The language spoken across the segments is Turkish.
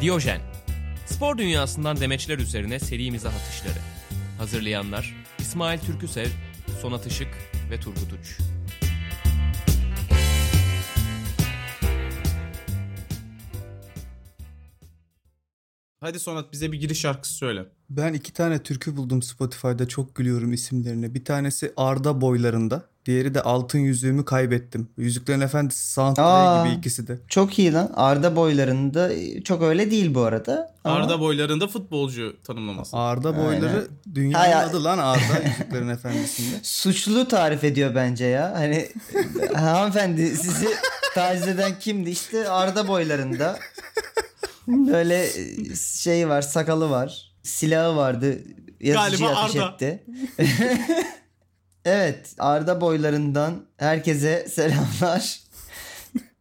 Diyojen. Spor dünyasından demeçler üzerine serimize atışları. Hazırlayanlar İsmail Türküsev, Sonat Işık ve Turgut Uç. Hadi Sonat bize bir giriş şarkısı söyle. Ben iki tane türkü buldum Spotify'da çok gülüyorum isimlerine. Bir tanesi Arda boylarında. Diğeri de altın yüzüğümü kaybettim. Yüzüklerin Efendisi soundtrack Aa. gibi ikisi de. Çok iyi lan. Arda boylarında çok öyle değil bu arada. Ama- Arda boylarında futbolcu tanımlaması. Arda boyları dünyanın Hay- adı lan Arda Yüzüklerin Efendisi'nde. suçlu tarif ediyor bence ya. Hani hanımefendi sizi taciz eden kimdi? İşte Arda boylarında. Böyle şey var, sakalı var. Silahı vardı. Yazıcı Galiba ateş Arda. etti. evet, Arda boylarından herkese selamlar.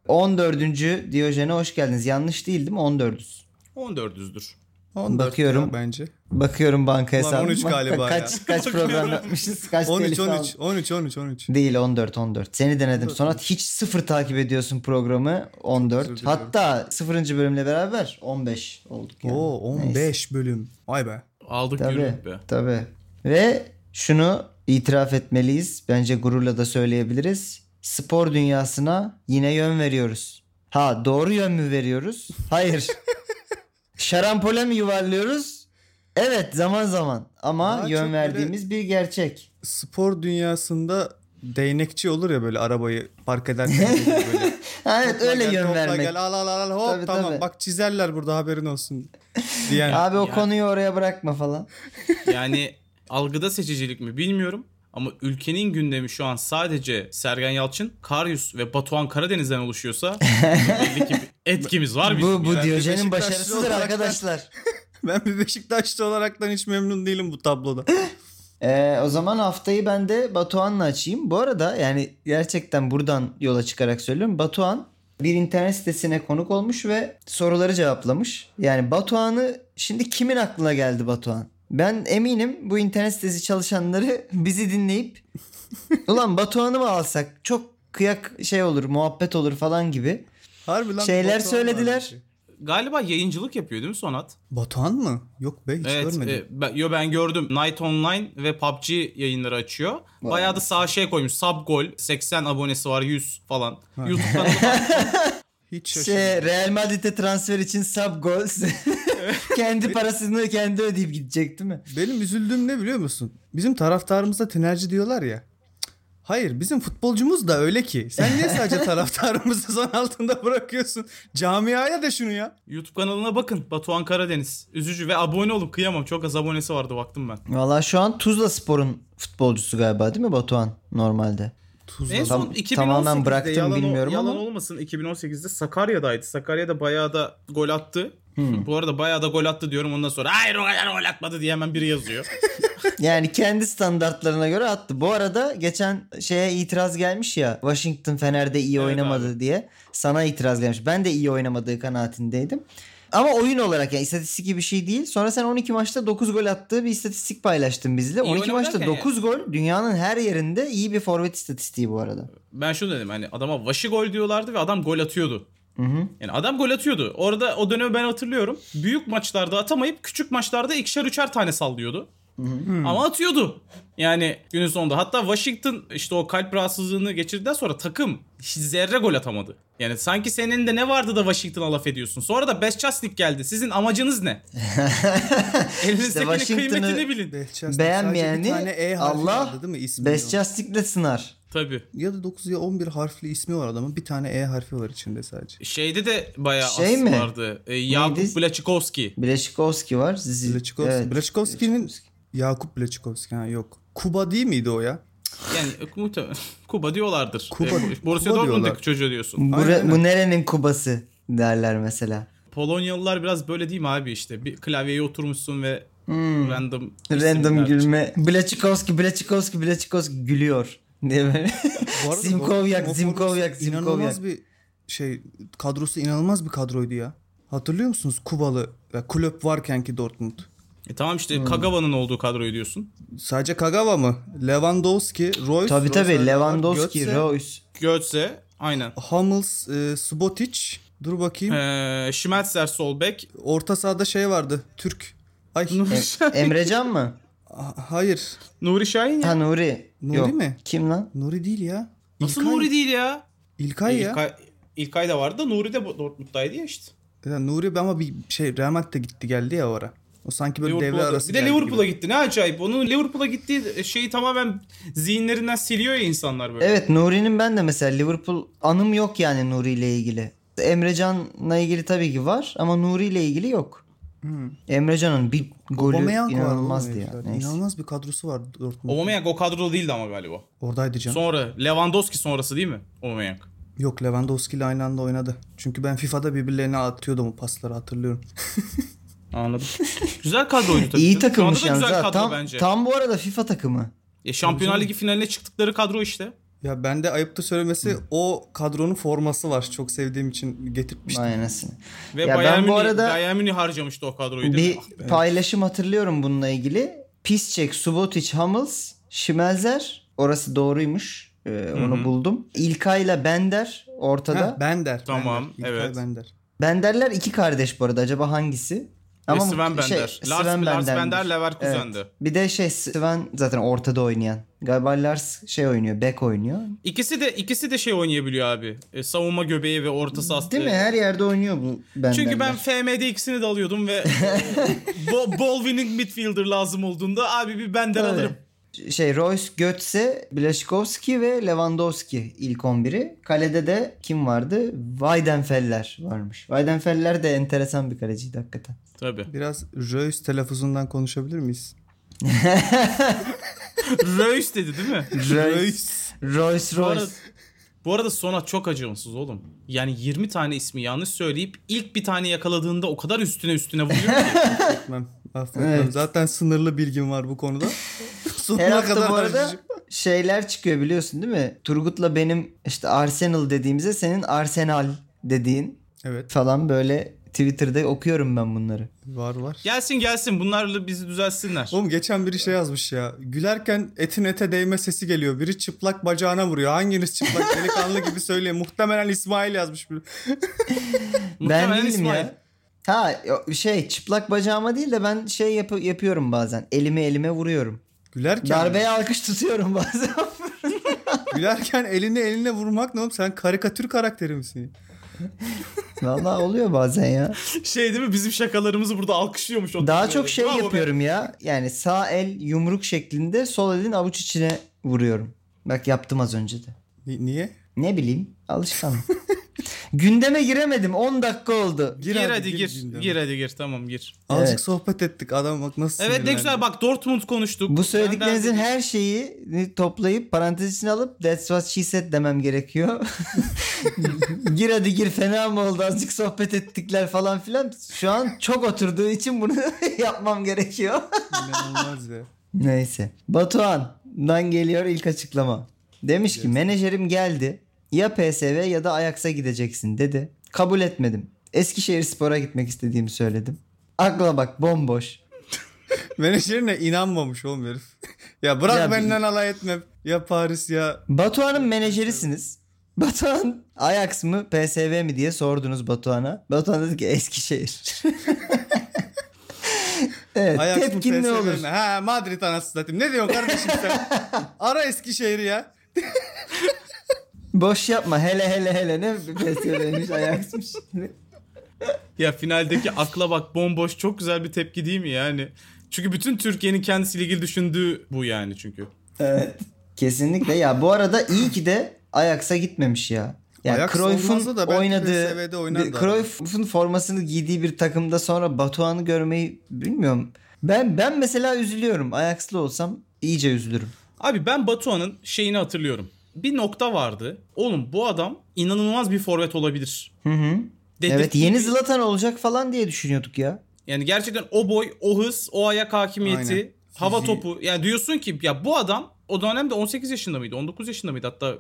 14. Diyojen'e hoş geldiniz. Yanlış değil değil mi? 14'üz. 14'üzdür. 14 Bakıyorum. ya bence. Bakıyorum banka Ulan hesabıma. 13 galiba kaç, ya. Kaç program yapmışız? Kaç 13 telif 13 aldık? 13 13 13. Değil 14 14. Seni denedim. Sonra hiç sıfır takip ediyorsun programı 14. özür dilerim. Hatta sıfırıncı bölümle beraber 15 olduk yani. Oo 15 Neyse. bölüm. Vay be. Aldık Tabii. yürüyüp be. Tabii. Ve şunu itiraf etmeliyiz. Bence gururla da söyleyebiliriz. Spor dünyasına yine yön veriyoruz. Ha doğru yön mü veriyoruz? Hayır. Şarampole mi yuvarlıyoruz? Evet zaman zaman ama Daha çok yön böyle- verdiğimiz bir gerçek. Spor dünyasında değnekçi olur ya böyle arabayı park ederken böyle. Ha, evet Topla öyle gel, yön topla vermek. Gel, al al al al, hop Tabii, tamam tabii. bak çizerler burada haberin olsun. Diyen. Abi o Yani- konuyu oraya bırakma falan. Yani algıda seçicilik mi bilmiyorum. Ama ülkenin gündemi şu an sadece Sergen Yalçın, Karyus ve Batuhan Karadeniz'den oluşuyorsa belli ki bir etkimiz var bizim. Bu, bu Yani Diyojen'in Beşiktaşlı başarısıdır olarak- arkadaşlar. Ben bir Beşiktaşlı olaraktan hiç memnun değilim bu tabloda. Ee, o zaman haftayı ben de Batuhan'la açayım. Bu arada yani gerçekten buradan yola çıkarak söylüyorum. Batuhan bir internet sitesine konuk olmuş ve soruları cevaplamış. Yani Batuhan'ı şimdi kimin aklına geldi Batuhan? Ben eminim bu internet sitesi çalışanları bizi dinleyip ulan Batuhan'ı mı alsak çok kıyak şey olur muhabbet olur falan gibi. Harbi lan. Şeyler Batuhan söylediler. varmış ya. Galiba yayıncılık yapıyor değil mi Sonat? Batuhan mı? Yok be hiç evet. görmedim. e, ben, yo ben gördüm. Night Online ve PUBG yayınları açıyor. Bayağı da sağ şey koymuş. Subgol 80 abonesi var 100 falan. YouTube kanalı var. hiç Şey, Real Madrid'e transfer için sub goals. kendi parasını kendi ödeyip gidecek değil mi? Benim üzüldüğüm ne biliyor musun? Bizim taraftarımıza tinerci diyorlar ya. Cık, Hayır bizim futbolcumuz da öyle ki. Sen niye sadece taraftarımızı zan altında bırakıyorsun? Camiaya da şunu ya. YouTube kanalına bakın. Batuhan Karadeniz. Üzücü ve abone olun. Kıyamam. Çok az abonesi vardı baktım ben. Valla şu an Tuzla Spor'un futbolcusu galiba değil mi Batuhan normalde? Tuzla. En Tam- son 2018'de tamamen bıraktım yalan, o- bilmiyorum yalan ama. olmasın 2018'de Sakarya'daydı. Sakarya'da bayağı da gol attı. Hmm. Bu arada bayağı da gol attı diyorum ondan sonra hayır o kadar gol atmadı diye hemen biri yazıyor. Yani kendi standartlarına göre attı. Bu arada geçen şeye itiraz gelmiş ya Washington Fener'de iyi Evet oynamadı diye sana itiraz gelmiş. Ben de iyi oynamadığı kanaatindeydim. Ama oyun olarak yani istatistik gibi bir şey değil. Sonra sen 12 maçta 9 gol attığı bir istatistik paylaştın bizle. 12 oynamadı maçta derken yani. 9 gol dünyanın her yerinde iyi bir forvet istatistiği bu arada. ben şunu dedim hani adama vaşı gol diyorlardı ve adam gol atıyordu. Yani adam gol atıyordu. Orada o dönemi ben hatırlıyorum. Büyük maçlarda atamayıp küçük maçlarda ikişer üçer tane sallıyordu. Ama atıyordu. Yani günün sonunda. Hatta Washington işte o kalp rahatsızlığını geçirdikten sonra takım hiç zerre gol atamadı. Yani sanki senin de ne vardı da Washington'a laf ediyorsun. Sonra da Beşçasnik geldi. Sizin amacınız ne? Elinizdekinin Washington'ı- kıymetini bilin. Behças- Beğenmeyeni sadece bir tane e harfi Allah vardı değil mi? İsmi yok. Best Justic'le sınar. Tabii. Ya da 9 ya 11 harfli ismi var adamın. Bir tane E harfi var içinde sadece. Şeyde de bayağı Şey as mi? vardı. Ee, Yakup Neydi? Blaçikowski. Bileşikovski var. Zizi. Blaçikovski. Evet. Blaçikovski'nin Yakup Blaçikovski ha yok. Kuba değil miydi o ya? Yani muhtemelen Kuba diyorlardır. Kuba- Ee, Borussia Kuba Dortmund'daki diyorlar. Hmm. çocuğu diyorsun. Bu, Aynen öyle. bu nerenin kubası derler mesela. Polonyalılar biraz böyle değil mi abi işte? Bir klavyeye oturmuşsun ve Hmm. random Random isimler- gülme. Blaçikovski, Blaçikovski, Blaçikovski gülüyor. Diye böyle. Bu arada Simkovyak, Bob- Simkovyak, Bob- İnanılmaz Simkovyak. bir şey kadrosu inanılmaz bir kadroydu ya. Hatırlıyor musunuz Kubalı ya kulüp varken ki Dortmund. E tamam işte Hmm. Kagawa'nın olduğu kadroyu diyorsun. Sadece Kagawa mı? Lewandowski, Royce. tabii Royce, tabii Lewandowski, Götze, Royce. Götze aynen. Hummels, e, Subotic, Dur bakayım. Ee, Schmelzer sol bek. Orta sahada şey vardı. Türk. Ay Nuri, Şahin- Emrecan mı? a- hayır. Nuri Şahin ya. Ha Nuri. Nuri Yok. mi? Kim lan? Nuri değil ya. Nasıl İlkay- Nuri değil ya? E, İlkay ya. İlkay, İlkay da vardı da Nuri de Dortmund'daydı ya işte. Ya Nuri ama bir şey Real Madrid'e gitti geldi ya o ara. O sanki böyle devre Liverpool'a da- arası bir de geldi Liverpool'a gibi. gitti. Ne acayip. Onun Liverpool'a gittiği şeyi tamamen zihinlerinden siliyor ya insanlar böyle. Evet Nuri'nin ben de mesela Liverpool anım yok yani Nuri ile ilgili. Emrecan'la ilgili tabii ki var ama Nuri ile ilgili yok. Emrecan'ın bir golü Hmm. Aubameyang vardı inanılmazdı oğlum ya. herifler. Neyse. İnanılmaz bir kadrosu vardı Dortmund. Aubameyang o kadroda değildi ama galiba. Oradaydı can. Sonra Lewandowski sonrası değil mi? Aubameyang. Yok Lewandowski ile aynı anda oynadı. Çünkü ben FIFA'da birbirlerine atıyordum o pasları hatırlıyorum. Anladım. güzel kadroydu tabii. İyi canım. Şu anda takılmış da yalnız. Güzel ha. kadro Tam, bence. tam bu arada FIFA takımı. E, Şampiyonlar Ligi finaline çıktıkları kadro işte. Ya bende ayıptır söylemesi o kadronun forması var. Çok sevdiğim için getirtmiştim. Vay anasını. Ve Ya Bayern ben bu Münih, arada- Bayern Münih harcamıştı o kadroyu değil Bir mi? paylaşım hatırlıyorum bununla ilgili. Pisçek, Subotic, Hummels, Schmelzer. Orası doğruymuş. Ee, onu buldum. İlkay'la Bender Ha, ortada. Bender. Tamam, Bender. İlkay evet. Bender. Benderler iki kardeş bu arada. Acaba hangisi? Ama mu- Sven Bender. şey, Lars, Sven Lars Bender'miş. Bender Leverkusen'di. Evet. Bir de şey Sven zaten ortada oynayan. Galiba Lars şey oynuyor. Bek oynuyor. İkisi de ikisi de şey oynayabiliyor abi. E, savunma göbeği ve orta sahası. Değil mi? Her yerde oynuyor bu Benderler. Çünkü ben FM'de ikisini de alıyordum ve bo, ball winning midfielder lazım olduğunda abi bir Bender Tabii. alırım. şey Royce, Götze, Blaszkowski ve Lewandowski ilk 11'i. Kalede de kim vardı? Weidenfeller varmış. Weidenfeller de enteresan bir kaleciydi hakikaten. Tabii. Biraz Reus telaffuzundan konuşabilir miyiz? Reus dedi değil mi? Reus. Royce Bu arada, Royce. bu arada Sonat çok acımasız oğlum. Yani 20 tane ismi yanlış söyleyip ilk bir tane yakaladığında o kadar üstüne üstüne vuruyor ki. Affetmem. affetmem. Evet. Zaten sınırlı bilgim var bu konuda. Sonuna Her hafta kadar bu arada harcayacağım. şeyler çıkıyor biliyorsun değil mi? Turgut'la benim işte Arsenal dediğimize senin Arsenal dediğin Evet falan böyle Twitter'da okuyorum ben bunları. var var. gelsin gelsin bunlarla bizi düzelsinler. Oğlum geçen biri şey yazmış ya. Gülerken etin ete değme sesi geliyor. Biri çıplak bacağına vuruyor. Hanginiz çıplak delikanlı gibi söylüyor. Muhtemelen İsmail yazmış. biri. Ben Muhtemelen değilim İsmail. ya. Ha yo- şey çıplak bacağıma değil de ben şey yap- yapıyorum bazen. Elimi elime vuruyorum. Gülerken Darbeye alkış tutuyorum bazen. gülerken elini eline vurmak ne oğlum? Sen karikatür karakteri misin? Vallahi oluyor bazen ya. Şey değil mi bizim şakalarımızı burada alkışlıyormuş. o Daha tip çok böyle. şey Bravo be. yapıyorum ya. Yani sağ el yumruk şeklinde sol elin avuç içine vuruyorum. Bak yaptım az önce de. Ni- niye? Ne bileyim alışkanlık. Gündeme giremedim 10 dakika oldu. Gir, abi, hadi gir. Gir, gündeme. hadi gir tamam gir. Azıcık Evet. sohbet ettik. Adam bak nasıl Evet ne sinirlendi. güzel bak Dortmund konuştuk. Bu söylediklerinizin Ben- her şeyi toplayıp parantez içine alıp that's what she said demem gerekiyor. gir hadi gir fena mı oldu azıcık sohbet ettikler falan filan. Şu an çok oturduğu için bunu yapmam gerekiyor. İnanılmaz ya. Neyse. Batuhan'dan geliyor ilk açıklama. Demiş ki menajerim geldi. Ya PSV ya da Ajax'a gideceksin dedi. Kabul etmedim. Eskişehir Spor'a gitmek istediğimi söyledim. Akla bak bomboş. Menajerine inanmamış oğlum herif. ya bırak Ya bir- benden alay etme. Ya Paris ya. Batuhan'ın menajerisiniz. Batuhan Ajax mı PSV mi diye sordunuz Batuhan'a. Batuhan dedi ki Eskişehir. evet Ajax mı, tepkin ne PSV E, olur? mi? Ha Madrid anasını satayım. Ne diyorsun kardeşim sen? Ara Eskişehir'i ya. Boş yapma hele hele hele ne PSV'miş Ajax'mış. Ya finaldeki akla bak bomboş çok güzel bir tepki değil mi yani? Çünkü bütün Türkiye'nin kendisiyle ilgili düşündüğü bu yani çünkü. evet kesinlikle ya bu arada iyi ki de Ajax'a gitmemiş ya. Yani Ajax Cruyff'un olmazdı da belki PSV'de oynadığı, oynardı bir- adam. Cruyff'un formasını giydiği bir takımda sonra Batuhan'ı görmeyi bilmiyorum. Ben ben mesela üzülüyorum. Ajax'lı olsam iyice üzülürüm. Abi ben Batuhan'ın şeyini hatırlıyorum. Bir nokta vardı. Oğlum bu adam inanılmaz bir forvet olabilir. Hı hı. Dedirtti. Evet yeni Zlatan olacak falan diye düşünüyorduk ya. Yani gerçekten o boy, o hız, o ayak hakimiyeti, Aynen. hava Fiziği. topu. Yani diyorsun ki ya bu adam o dönemde 18 yaşında mıydı? 19 yaşında mıydı hatta?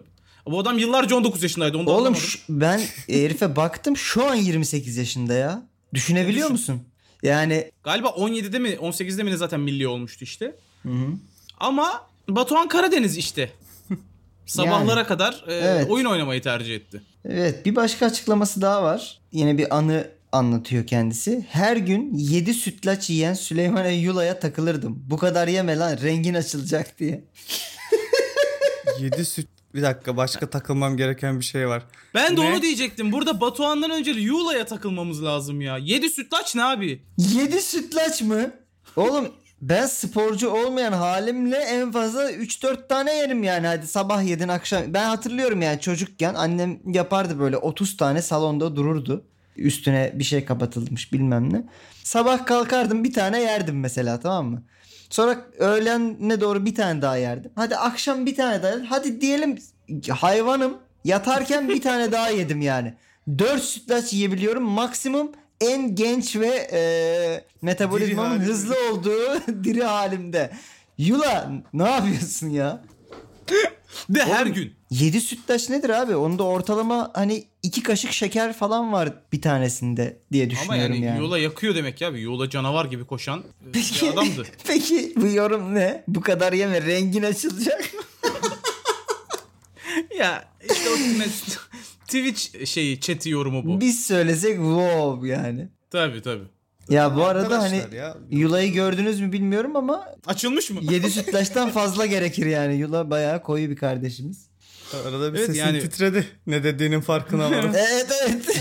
Bu adam yıllarca 19 yaşındaydı. Onu da Oğlum anlamadım. şu- ben herife baktım şu an 28 yaşında ya. Düşünebiliyor Düşün. musun? Yani Galiba 17'de mi 18'de mi ne zaten milli olmuştu işte. hı. Ama Batuhan Karadeniz işte. Sabahlara kadar e, Evet. oyun oynamayı tercih etti. Evet bir başka açıklaması daha var. Yine bir anı anlatıyor kendisi. Her gün 7 sütlaç yiyen Süleyman Eyyula'ya takılırdım. Bu kadar yeme lan rengin açılacak diye. 7 süt. Bir dakika başka takılmam gereken bir şey var. Ben de Ne? onu diyecektim. Burada Batuhan'dan önce Yula'ya takılmamız lazım ya. 7 sütlaç ne abi? 7 sütlaç mı? Oğlum ben sporcu olmayan halimle en fazla 3-4 tane yerim yani. Hadi sabah yedin akşam. Ben hatırlıyorum yani çocukken annem yapardı böyle 30 tane salonda dururdu. Üstüne bir şey kapatılmış bilmem ne. Sabah kalkardım bir tane yerdim mesela tamam mı? Sonra öğlene doğru bir tane daha yerdim. Hadi akşam bir tane daha. Hadi diyelim hayvanım yatarken bir tane daha yedim yani. 4 sütlaç yiyebiliyorum. Maksimum en genç ve e, metabolizmamın Diri halim. hızlı olduğu diri halimde. Yula ne yapıyorsun ya? De her gün. 7 sütlaç nedir abi? Onda ortalama hani 2 kaşık şeker falan var bir tanesinde diye Ama düşünüyorum yani, yani. Yula yakıyor demek ya. Yula canavar gibi koşan e, Peki- bir adamdı. Peki bu yorum ne? Bu kadar yeme rengin açılacak. ya işte o t- Twitch şeyi chat'i yorumu bu. Biz söylesek wow yani. Tabii tabii. Ya bu arada hani Arkadaşlar ya. Yula'yı gördünüz mü bilmiyorum ama Açılmış mı? 7 sütlaçtan fazla gerekir yani. Yula bayağı koyu bir kardeşimiz. Arada bir Evet, sesin yani- titredi. Ne dediğinin farkına varım. Evet evet.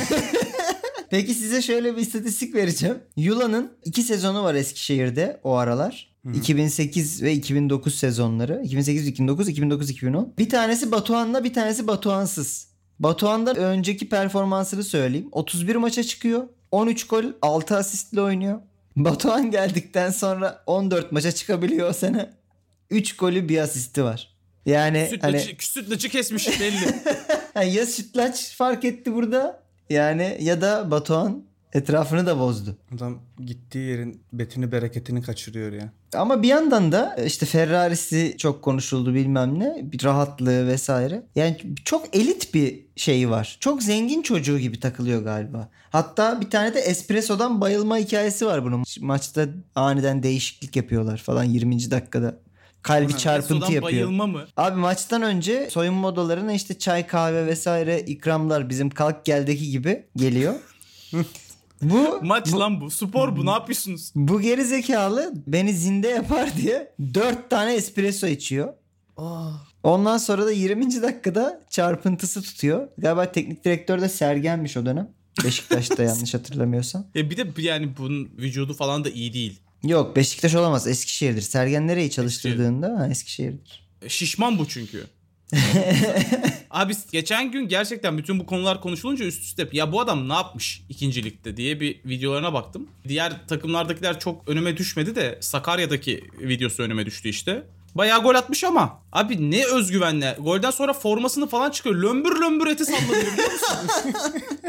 Peki size şöyle bir istatistik vereceğim. Yula'nın iki sezonu var Eskişehir'de o aralar. 2008 ve 2009 sezonları. 2008 2009, 2009 2010. Bir tanesi Batuhan'la, bir tanesi Batuhan'sız. Batuhan'dan önceki performansını söyleyeyim. 31 maça çıkıyor. 13 gol, 6 asistle oynuyor. Batuhan geldikten sonra 14 maça çıkabiliyor o sene. 3 golü, bir asisti var. Yani hani Sütlacı, sütlacı kesmiş belli. Ha, ya Sütlaç fark etti burada yani ya da Batuhan etrafını da bozdu. Adam gittiği yerin betini bereketini kaçırıyor ya. Ama bir yandan da e, işte Ferrari'si çok konuşuldu bilmem ne. Bir rahatlığı vesaire. Yani çok elit bir şeyi var. Çok zengin çocuğu gibi takılıyor galiba. Hatta bir tane de espressodan bayılma hikayesi var bunun. Maçta aniden değişiklik yapıyorlar falan 20. dakikada. Kalbi çarpıntı Sudan yapıyor. Hani bayılma mı? Abi maçtan önce soyunma odalarına işte çay kahve vesaire ikramlar bizim kalk geldeki gibi geliyor. bu Maç bu, lan bu. Spor bu. Ne yapıyorsunuz? bu geri zekalı beni zinde yapar diye 4 tane espresso içiyor. Ondan sonra da 20. dakikada çarpıntısı tutuyor. Galiba teknik direktör de Sergen'miş o dönem. Beşiktaş'ta yanlış hatırlamıyorsam. E bir de yani bunun vücudu falan da iyi değil. Yok Beşiktaş olamaz Eskişehir'dir. Sergen nereyi çalıştırdığında ha, Eskişehir'dir. E, Şişman bu çünkü. Abi geçen gün gerçekten bütün bu konular konuşulunca üst üste ya bu adam ne yapmış ikincilikte diye bir videolarına baktım. Diğer takımlardakiler çok önüme düşmedi de Sakarya'daki videosu önüme düştü işte. Bayağı gol atmış ama abi ne özgüvenle. Golden sonra formasını falan çıkıyor. Lömbür lömbür eti sallanıyor biliyor musun?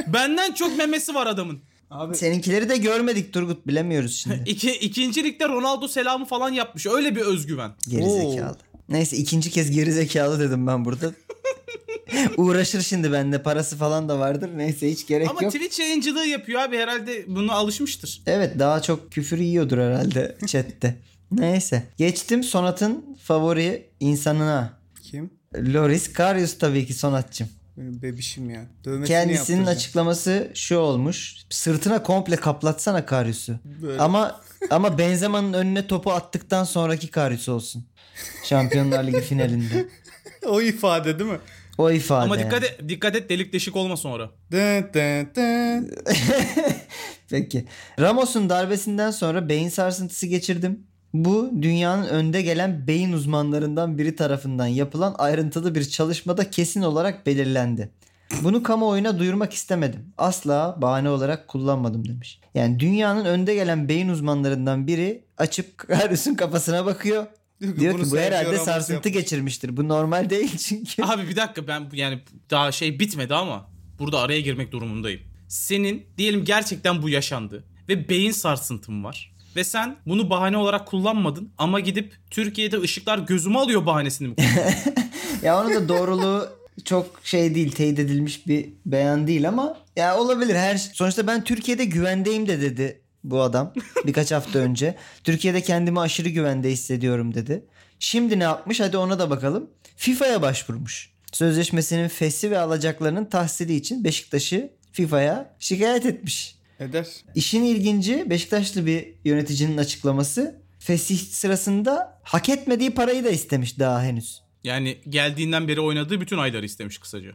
Benden çok memesi var adamın. Abi Seninkileri de görmedik Turgut bilemiyoruz şimdi. İki, ikincilikte Ronaldo selamı falan yapmış. Öyle bir özgüven. Geri zekalı. Neyse ikinci kez geri zekalı dedim ben burada. Uğraşır şimdi bende parası falan da vardır. Neyse hiç gerek Ama yok. Twitch yayıncılığı yapıyor abi herhalde buna alışmıştır. Evet daha çok küfür yiyordur herhalde chatte. Neyse. Geçtim Sonat'ın favori insanına. kim? Loris Karius tabii ki Sonat'cığım. Benim bebişim ya. Dövmesini Kendisinin yaptıracağım. açıklaması şu olmuş. Sırtına komple kaplatsana Karius'u. Böyle. Ama ama Benzema'nın önüne topu attıktan sonraki Karius olsun. Şampiyonlar Ligi finalinde. O ifade değil mi? O ifade. Ama yani. dikkat et, dikkat et delik deşik olma sonra. Dın dın dın. Peki. Ramos'un darbesinden sonra beyin sarsıntısı geçirdim. Bu dünyanın önde gelen beyin uzmanlarından biri tarafından yapılan ayrıntılı bir çalışmada kesin olarak belirlendi. Bunu kamuoyuna duyurmak istemedim. Asla bahane olarak kullanmadım demiş. Yani dünyanın önde gelen beyin uzmanlarından biri açıp Karius'un kafasına bakıyor. Diyor ki, Diyor "Bunu ki bu Sergio herhalde Ramos sarsıntı yapmış." geçirmiştir. Bu normal değil çünkü. Abi bir dakika ben bu- yani daha şey bitmedi ama burada araya girmek durumundayım. Senin diyelim gerçekten bu yaşandı ve beyin sarsıntın var. Ve sen bunu bahane olarak kullanmadın ama gidip Türkiye'de ışıklar gözüme alıyor bahanesini mi kullandın? Ya onun da doğruluğu çok şey değil, teyit edilmiş bir beyan değil ama ya olabilir her sonuçta ben Türkiye'de güvendeyim de dedi bu adam birkaç hafta önce. Türkiye'de kendimi aşırı güvende hissediyorum dedi. Şimdi ne yapmış? Hadi ona da bakalım. FIFA'ya başvurmuş. sözleşmesinin fesi ve alacaklarının tahsili için Beşiktaş'ı FIFA'ya şikayet etmiş. Eder. İşin ilginci Beşiktaşlı bir yöneticinin açıklaması. Fesih sırasında hak etmediği parayı da istemiş daha henüz. Yani geldiğinden beri oynadığı bütün ayları istemiş kısaca.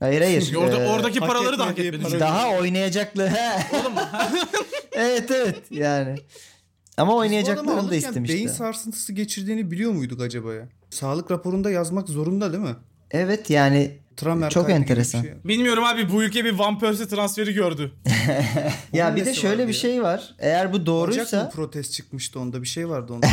Hayır hayır. Çünkü orada, Ee, oradaki hak paraları da hak etmediği etmedi. para- Daha oynayacaklı. He. evet evet yani. Ama Bu adamı oynayacaklarını da alırken istemişti. Beyin sarsıntısı geçirdiğini biliyor muyduk acaba ya? Sağlık raporunda yazmak zorunda değil mi? Evet yani Tramer Çok kaydı gibi enteresan. bir şey. Bilmiyorum abi bu ülke bir Van Persie transferi gördü. ya Onun bir de nesi şöyle vardı bir ya? şey var. Eğer bu Bacak doğruysa mı protest çıkmıştı onda bir şey vardı onda.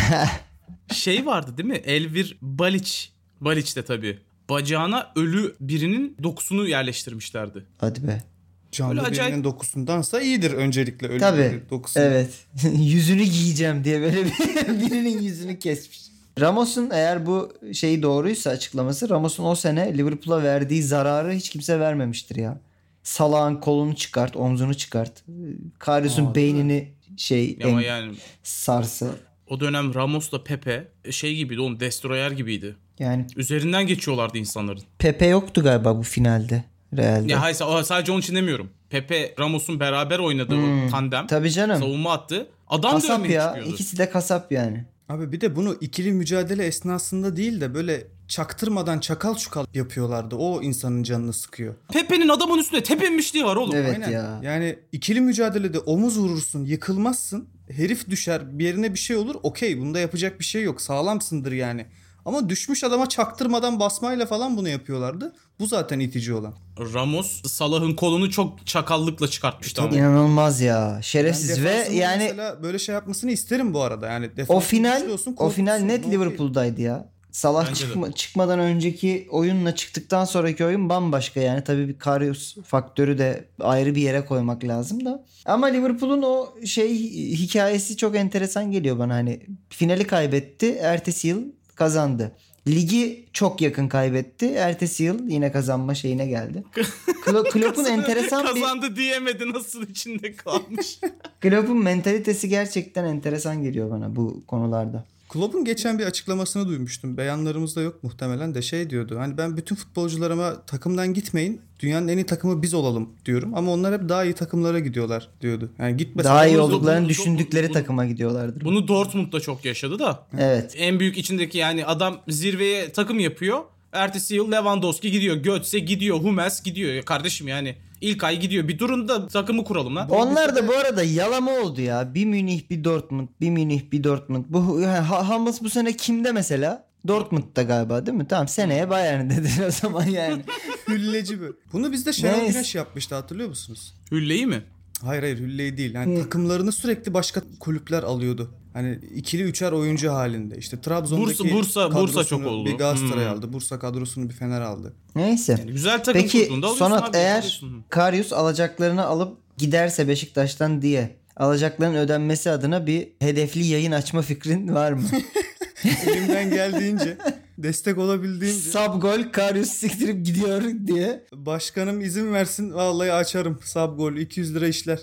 Şey vardı değil mi? Elvir Baliç. Baliç de tabii. Bacağına ölü birinin dokusunu yerleştirmişlerdi. hadi be. Canlı Böyle acayip- birinin dokusundansa iyidir öncelikle ölü Tabii. birinin dokusu. Evet. yüzünü giyeceğim diye böyle bir- birinin yüzünü kesmiş. Ramos'un eğer bu şeyi doğruysa açıklaması Ramos'un o sene Liverpool'a verdiği zararı hiç kimse vermemiştir ya. Salağın kolunu çıkart, omzunu çıkart. Ee, Karius'un Aa, değil mi? beynini şey Ama en- yani sarsı. o dönem Ramos'la Pepe şey gibiydi oğlum Destroyer gibiydi. Yani Üzerinden geçiyorlardı insanların. Pepe yoktu galiba bu finalde Real'de. Ya hayır sa- sadece onun için demiyorum. Pepe Ramos'un beraber oynadığı o tandem. Hmm. Tabii canım. Savunma attı. Adam Kasap dövmeye ya. çıkıyordu. İkisi de kasap yani. Abi bir de bunu ikili mücadele esnasında değil de böyle çaktırmadan çakal çukal yapıyorlardı. O insanın canını sıkıyor. Pepe'nin adamın üstüne tepemişliği var oğlum. Evet Aynen. ya. Yani ikili mücadelede omuz vurursun, yıkılmazsın. Herif düşer, bir yerine bir şey olur. Okey, bunda yapacak bir şey yok. Sağlamsındır yani. Ama düşmüş adama çaktırmadan basmayla falan bunu yapıyorlardı. Bu zaten itici olan. Ramos Salah'ın kolunu çok çakallıkla çıkartmıştı ama. İnanılmaz ya. Ben Şerefsiz ve defansın da yani mesela böyle şey yapmasını isterim bu arada. Yani o defans final güçlü olsun, o final korksun, net no Liverpool'daydı ya. Salah Bence de. çıkma- çıkmadan önceki oyunla çıktıktan sonraki oyun bambaşka yani. Tabii bir Karius faktörü de ayrı bir yere koymak lazım da. Ama Liverpool'un o şey hikayesi çok enteresan geliyor bana hani. Finali kaybetti, ertesi yıl kazandı. Ligi çok yakın kaybetti. Ertesi yıl yine kazanma şeyine geldi. Klo- Klopp'un enteresan bir Kazandı diyemedi nasıl içinde kalmış. Klopp'un mentalitesi gerçekten enteresan geliyor bana bu konularda. Klopp'un geçen bir açıklamasını duymuştum. Beyanlarımızda yok muhtemelen de şey diyordu. Hani ben bütün futbolcularıma takımdan gitmeyin. Dünyanın en iyi takımı biz olalım diyorum. Ama onlar hep daha iyi takımlara gidiyorlar diyordu. Yani gitmesen Daha iyi bunu- olduklarını bunu- düşündükleri bunu- takıma gidiyorlardır. Bunu Dortmund'da çok yaşadı da. evet. En büyük içindeki yani adam zirveye takım yapıyor. Ertesi yıl Lewandowski gidiyor. Götze gidiyor. Hummels gidiyor. Ya Kardeşim yani ilk ay gidiyor. Bir durun da takımı kuralım lan. Onlar da bu arada yalama oldu ya. Bir Münih, bir Dortmund, bir Münih, bir Dortmund. Bu yani Ha- Hummels bu sene kimde mesela? Dortmund'da galiba değil mi? Tamam seneye Bayern dedin o zaman yani. hülleci böyle. Bunu bizde Şenol Neyse. Güneş yapmıştı hatırlıyor musunuz? Hülleyi mi? Hayır hayır hülleyi değil. Yani takımlarını sürekli başka kulüpler alıyordu. Hani ikili üçer oyuncu halinde. İşte Trabzon'daki Bursa- Bursa- Bursa kadrosunu çok oldu. Bir Galatasaray Hmm. aldı. Bursa kadrosunu bir Fener aldı. Neyse. Yani güzel takım Peki kurduğunda alıyorsun Sonat abi, eğer alıyorsun. Karius alacaklarını alıp giderse Beşiktaş'tan diye alacakların ödenmesi adına bir hedefli yayın açma fikrin var mı? Elimden geldiğince destek olabildiğince Sub gol Karius siktirip gidiyor diye. başkanım izin versin vallahi açarım. Sab gol 200 lira işler.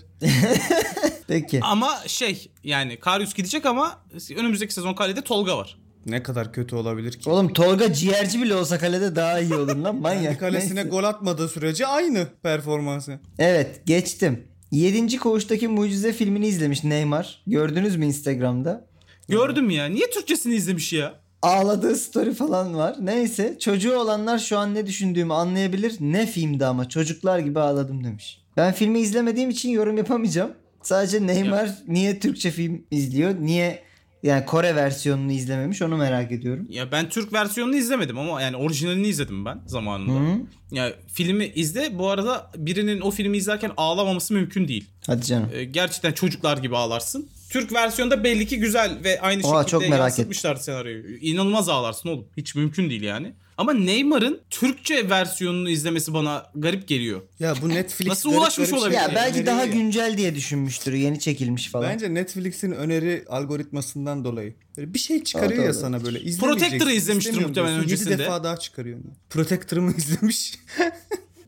Peki. Ama şey yani Karius gidecek ama önümüzdeki sezon kalede Tolga var. Ne kadar kötü olabilir ki? Oğlum Tolga ciğerci bile olsa kalede daha iyi olur lan Kendi manyak. kalesine Neyse. gol atmadığı sürece aynı performansı. Evet geçtim. 7. Koğuş'taki Mucize filmini izlemiş Neymar. Gördünüz mü Instagram'da? Gördüm ya. Niye Türkçesini izlemiş ya? Ağladığı story falan var. Neyse çocuğu olanlar şu an ne düşündüğümü anlayabilir. Ne filmdi ama çocuklar gibi ağladım demiş. Ben filmi izlemediğim için yorum yapamayacağım. Sadece Neymar niye Türkçe film izliyor? Niye yani Kore versiyonunu izlememiş onu merak ediyorum. Ya ben Türk versiyonunu izlemedim ama yani orijinalini izledim ben zamanında. Hı? Ya filmi izle. Bu arada birinin o filmi izlerken ağlamaması mümkün değil. Hadi canım. Ee, gerçekten çocuklar gibi ağlarsın. Türk versiyonda belli ki güzel ve aynı Oha, şekilde çok merak yansıtmışlar senaryoyu. İnanılmaz ağlarsın oğlum. Hiç mümkün değil yani. Ama Neymar'ın Türkçe versiyonunu izlemesi bana garip geliyor. Ya bu Netflix Nasıl garip ulaşmış garip olabilir? şeyler Ya belki daha öneriyor ya. güncel diye düşünmüştür. Yeni çekilmiş falan. Bence Netflix'in öneri algoritmasından dolayı. Böyle bir şey çıkarıyor Doğru, ya doğru. sana böyle. Protector'ı izlemiştir muhtemelen öncesinde. 7 defa daha çıkarıyor. Protector'ı mı izlemiş?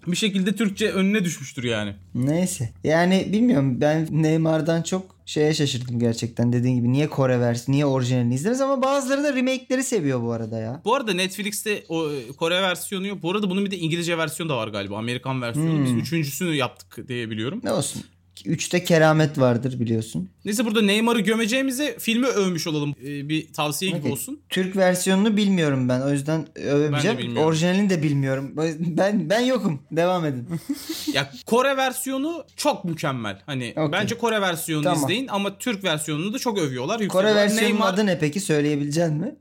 Bir şekilde Türkçe önüne düşmüştür yani. Neyse. Yani bilmiyorum ben Neymar'dan çok şeye şaşırdım gerçekten. Dediğin gibi niye Kore versiyonu, niye orijinalini izleriz ama bazıları da remake'leri seviyor bu arada ya. Bu arada Netflix'te o e, Kore versiyonu yok. Bu arada bunun bir de İngilizce versiyonu da var galiba. Amerikan versiyonu. Biz Hmm. üçüncüsünü yaptık diye biliyorum. Ne olsun. Üçte keramet vardır biliyorsun. Neyse burada Neymar'ı gömeceğimize filmi övmüş olalım. E, bir tavsiye gibi Okey. olsun. Türk versiyonunu bilmiyorum ben. O yüzden Ben de övemeyeceğim. bilmiyorum. Orijinalini de bilmiyorum. Ben ben yokum. Devam edin. Ya Kore versiyonu çok mükemmel. Hani Okey. bence Kore versiyonunu Tamam. izleyin ama Türk versiyonunu da çok övüyorlar. Kore yükseliyorlar. versiyonunun adı ne peki söyleyebilecek mi?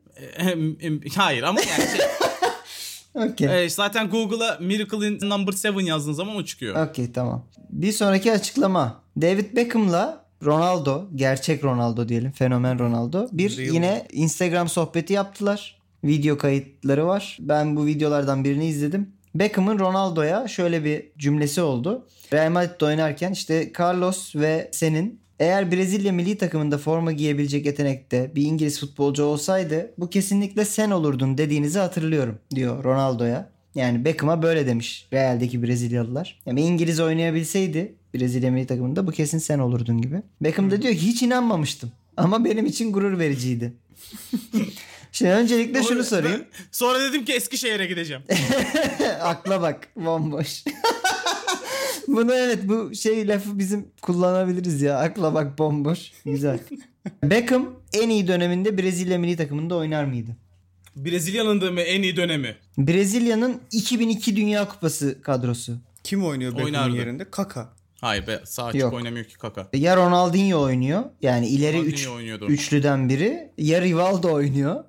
Hayır ama yani şey, Okey. e, zaten Google'a Miracle in Number 7 yazdığın zaman o çıkıyor. Okey tamam. Bir sonraki açıklama. David Beckham'la Ronaldo, gerçek Ronaldo diyelim, fenomen Ronaldo. Bir Real. yine Instagram sohbeti yaptılar. Video kayıtları var. Ben bu videolardan birini izledim. Beckham'ın Ronaldo'ya şöyle bir cümlesi oldu. Real Madrid'de oynarken işte Carlos ve senin eğer Brezilya milli takımında forma giyebilecek yetenekte bir İngiliz futbolcu olsaydı bu kesinlikle sen olurdun dediğinizi hatırlıyorum diyor Ronaldo'ya. Yani Beckham'a böyle demiş Real'deki Brezilyalılar. Yani İngiliz oynayabilseydi Brezilya milli takımında bu kesin sen olurdun gibi. Beckham da diyor ki, hiç inanmamıştım ama benim için gurur vericiydi. Şimdi öncelikle şunu sorayım. Sonra dedim ki Eskişehir'e gideceğim. Akla bak bomboş. Bunu evet bu şey lafı bizim kullanabiliriz ya. Akla bak bomboş. Güzel. Beckham en iyi döneminde Brezilya milli takımında oynar mıydı? Brezilya'nın da mı en iyi dönemi? Brezilya'nın 2002 Dünya Kupası kadrosu. Kim oynuyor Beckham'ın Oynardı. yerinde? Kaka. Hayır be sağ açık Yok. oynamıyor ki kaka. Ya Ronaldinho oynuyor. Yani ileri Ronaldinho üç, oynuyordu. üçlüden biri. Ya Rivaldo oynuyor.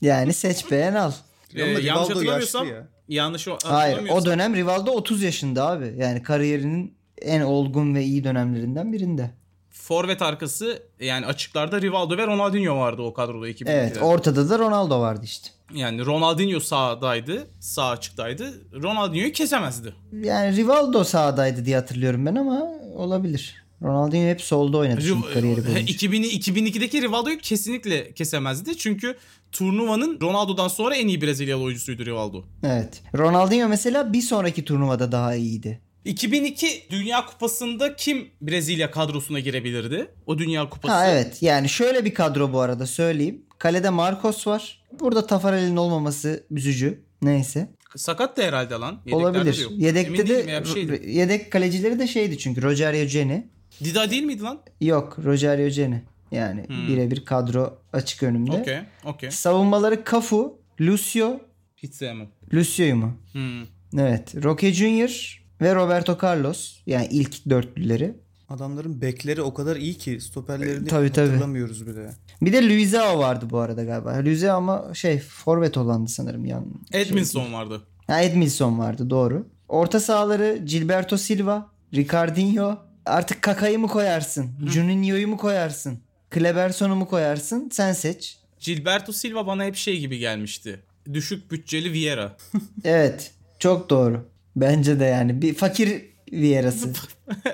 Yani seç beğen al. Ee, Ama yanlış Rivaldo hatırlamıyorsam yaşlı ya. yanlış o- Hayır o hatırlamıyorsam- dönem Rivaldo 30 yaşında abi. Yani kariyerinin en olgun ve iyi dönemlerinden birinde. forvet arkası yani açıklarda Rivaldo ve Ronaldinho vardı o kadroda 2002'de. Evet ortada da Ronaldo vardı işte. Yani Ronaldinho sağdaydı, sağ açıktaydı. Ronaldinho'yu kesemezdi. Yani Rivaldo sağdaydı diye hatırlıyorum ben ama olabilir. Ronaldinho hep solda oynadı çünkü kariyeri Riv- boyunca. 2000 2002'deki Rivaldo'yu kesinlikle kesemezdi. Çünkü turnuvanın Ronaldo'dan sonra en iyi Brezilyalı oyuncusuydu Rivaldo. Evet. Ronaldinho mesela bir sonraki turnuvada daha iyiydi. 2002 Dünya Kupası'nda kim Brezilya kadrosuna girebilirdi? O Dünya Kupası. Ha evet yani şöyle bir kadro bu arada söyleyeyim. Kalede Marcos var. Burada Tafarel'in olmaması üzücü. Neyse. Sakat da herhalde lan. Yedeklerde de olabilir. yok. Yedekte Emin de değilim ya, bir şey şeydi. yedek kalecileri de şeydi çünkü Rogerio Ceni. Dida değil miydi lan? Yok Rogerio Ceni. Yani birebir kadro açık önümde. Hmm. Okey, okey. Savunmaları Cafu, Lucio, Hiç sevmem. Lucio'yu mu? Hmm. Evet. Roque Junior ve Roberto Carlos. Yani ilk dörtlüleri. Adamların bekleri o kadar iyi ki stoperlerini Tabii, tabii. hatırlamıyoruz bile. Bir de Luizao vardı bu arada galiba. Luizao ama şey forvet olandı sanırım. Yan, Şey- Edminson vardı. Ha, Edmilson vardı doğru. Orta sahaları Gilberto Silva, Ricardinho. Artık Kaka'yı mı koyarsın? Juninho'yu mu koyarsın? Kleberson'u mu koyarsın? Sen seç. Gilberto Silva bana hep şey gibi gelmişti. Düşük bütçeli Vieira. Evet. Çok doğru. Bence de yani. Bir fakir Viera'sı.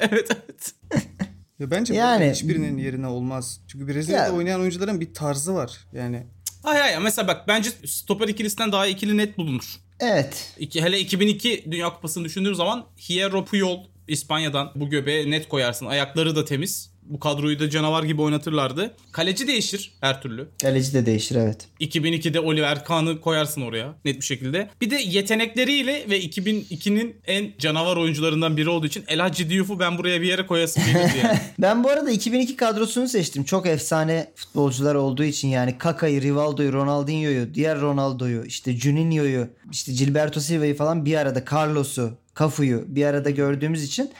evet evet. Ya bence Yani- yani, hiçbirinin yerine olmaz. Çünkü Brezilya'da Ya- oynayan oyuncuların bir tarzı var. Yani Ay ay mesela bak bence stoper ikilisinden daha ikili net bulunur. Evet. İki, hele 2002 Dünya Kupası'nı düşündüğüm zaman Hierro Puyol İspanya'dan bu göbeğe net koyarsın. Ayakları da temiz. Bu kadroyu da canavar gibi oynatırlardı. Kaleci değişir her türlü. Kaleci de değişir evet. 2002'de Oliver Kahn'ı koyarsın oraya net bir şekilde. Bir de yetenekleriyle ve 2002'nin en canavar oyuncularından biri olduğu için El Hadji Diouf'u ben buraya bir yere koyasım gelirdi yani. Ben bu arada 2002 kadrosunu seçtim. Çok efsane futbolcular olduğu için yani Kaka'yı, Rivaldo'yu, Ronaldinho'yu, diğer Ronaldo'yu, işte Juninho'yu, işte Gilberto Silva'yı falan bir arada Carlos'u, Cafu'yu bir arada gördüğümüz için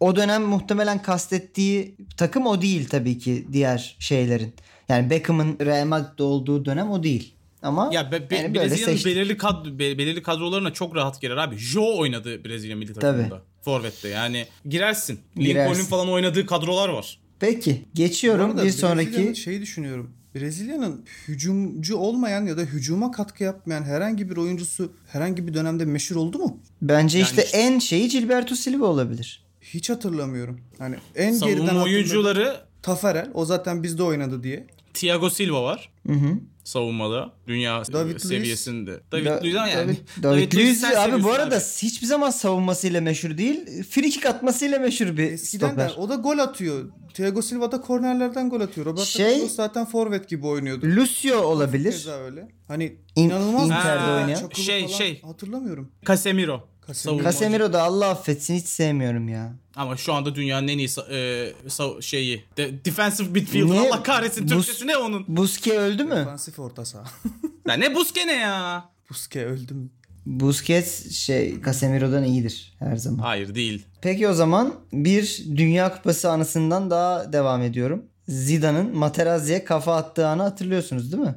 o dönem muhtemelen kastettiği takım o değil tabii ki diğer şeylerin. Yani Beckham'ın Real Madrid'de olduğu dönem o değil. Ama Ya be, be- yani böyle Brezilya'nın seçtim. belirli kadro be- belirli kadrolarına çok rahat girer abi. Jo oynadı Brezilya milli takımında. Forvet'te yani girersin. Girersin. Lincoln'un falan oynadığı kadrolar var. Peki Bu geçiyorum arada bir Brezilya'nın sonraki. şeyi düşünüyorum. Brezilya'nın hücumcu olmayan ya da hücuma katkı yapmayan herhangi bir oyuncusu herhangi bir dönemde meşhur oldu mu? Bence Yani işte işte- en şeyi Gilberto Silva olabilir. Hiç hatırlamıyorum. Hani en geriden Savunma hatırladığım oyuncuları Taferel o zaten bizde oynadı diye. Thiago Silva var. Hı hı. savunmada. Dünya David Luiz. seviyesinde. David Da- Luiz ama yani. David, David, Luiz Luiz serseri abi üstü bu arada hiçbir zaman savunmasıyla meşhur değil. Frikik atmasıyla meşhur bir Eskiden stoper. de o da gol atıyor. Thiago Silva da kornerlerden gol atıyor. Roberto Şey- Carlos zaten forvet gibi oynuyordu. Lucio olabilir. Keza öyle. Hani İn- inanılmaz bir Inter'de toplar, oynayan. çakılı Şey, falan. şey. Hatırlamıyorum. Casemiro. Casemiro. Savunma. Casemiro da Allah affetsin hiç sevmiyorum ya. Ama şu anda dünyanın en iyi sa- e, sa- şeyi. De- defensive midfielder. Niye? Allah kahretsin. Bus- Türkçesi ne onun? Busquets öldü mü? Defansif orta saha. Ya ne Buskene ya? Buske öldüm. Busquets şey Casemiro'dan iyidir her zaman. Hayır değil. Peki o zaman bir Dünya Kupası anısından daha devam ediyorum. Zidane'ın Materazzi'ye kafa attığı anı hatırlıyorsunuz değil mi?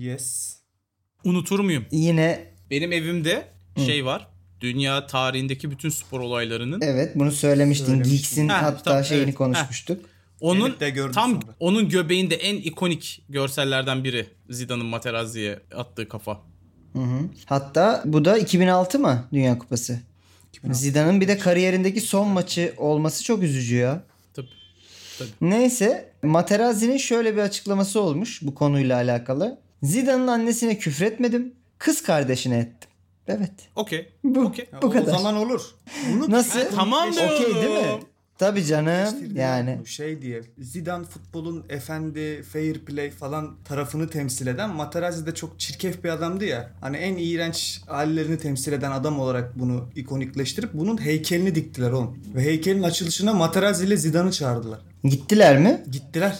Yes. Unutur muyum? Yine Benim evimde şey var. Dünya tarihindeki bütün spor olaylarının. evet bunu söylemiştin. Söylemiştim. Geeks'in Ha, hatta tamam, şeyini evet. konuşmuştuk. Onun Gelip de gördüm tam sonra. onun göbeğinde en ikonik görsellerden biri Zidane'ın Materazzi'ye attığı kafa. Hı hı. Hatta bu da 2006 mı Dünya Kupası? Zidane'ın bir de kariyerindeki son maçı olması çok üzücü ya. Tabii. Neyse Materazzi'nin şöyle bir açıklaması olmuş bu konuyla alakalı. Zidane'ın annesine küfretmedim. Kız kardeşine ettim. Evet. Okey. Bu, Okey. Ya bu o kadar. zaman olur. Bunu Nasıl? Tamam be Okey değil mi? oğlum. Tabii canım eleştirdi yani. Bu Şey diye Zidane futbolun efendi, fair play falan tarafını temsil eden Materazzi de çok çirkef bir adamdı ya. Hani en iğrenç hallerini temsil eden adam olarak bunu ikonikleştirip bunun heykelini diktiler oğlum. Ve heykelin açılışına Materazzi ile Zidane'ı çağırdılar. Gittiler mi? Gittiler.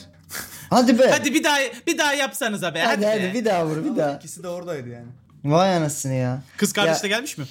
Hadi be. Hadi Hadi bir daha bir daha yapsanıza be. Hadi, hadi, be. bir daha vur bir daha. İkisi de oradaydı yani. Vay anasını ya. Kız kardeş de gelmiş mi?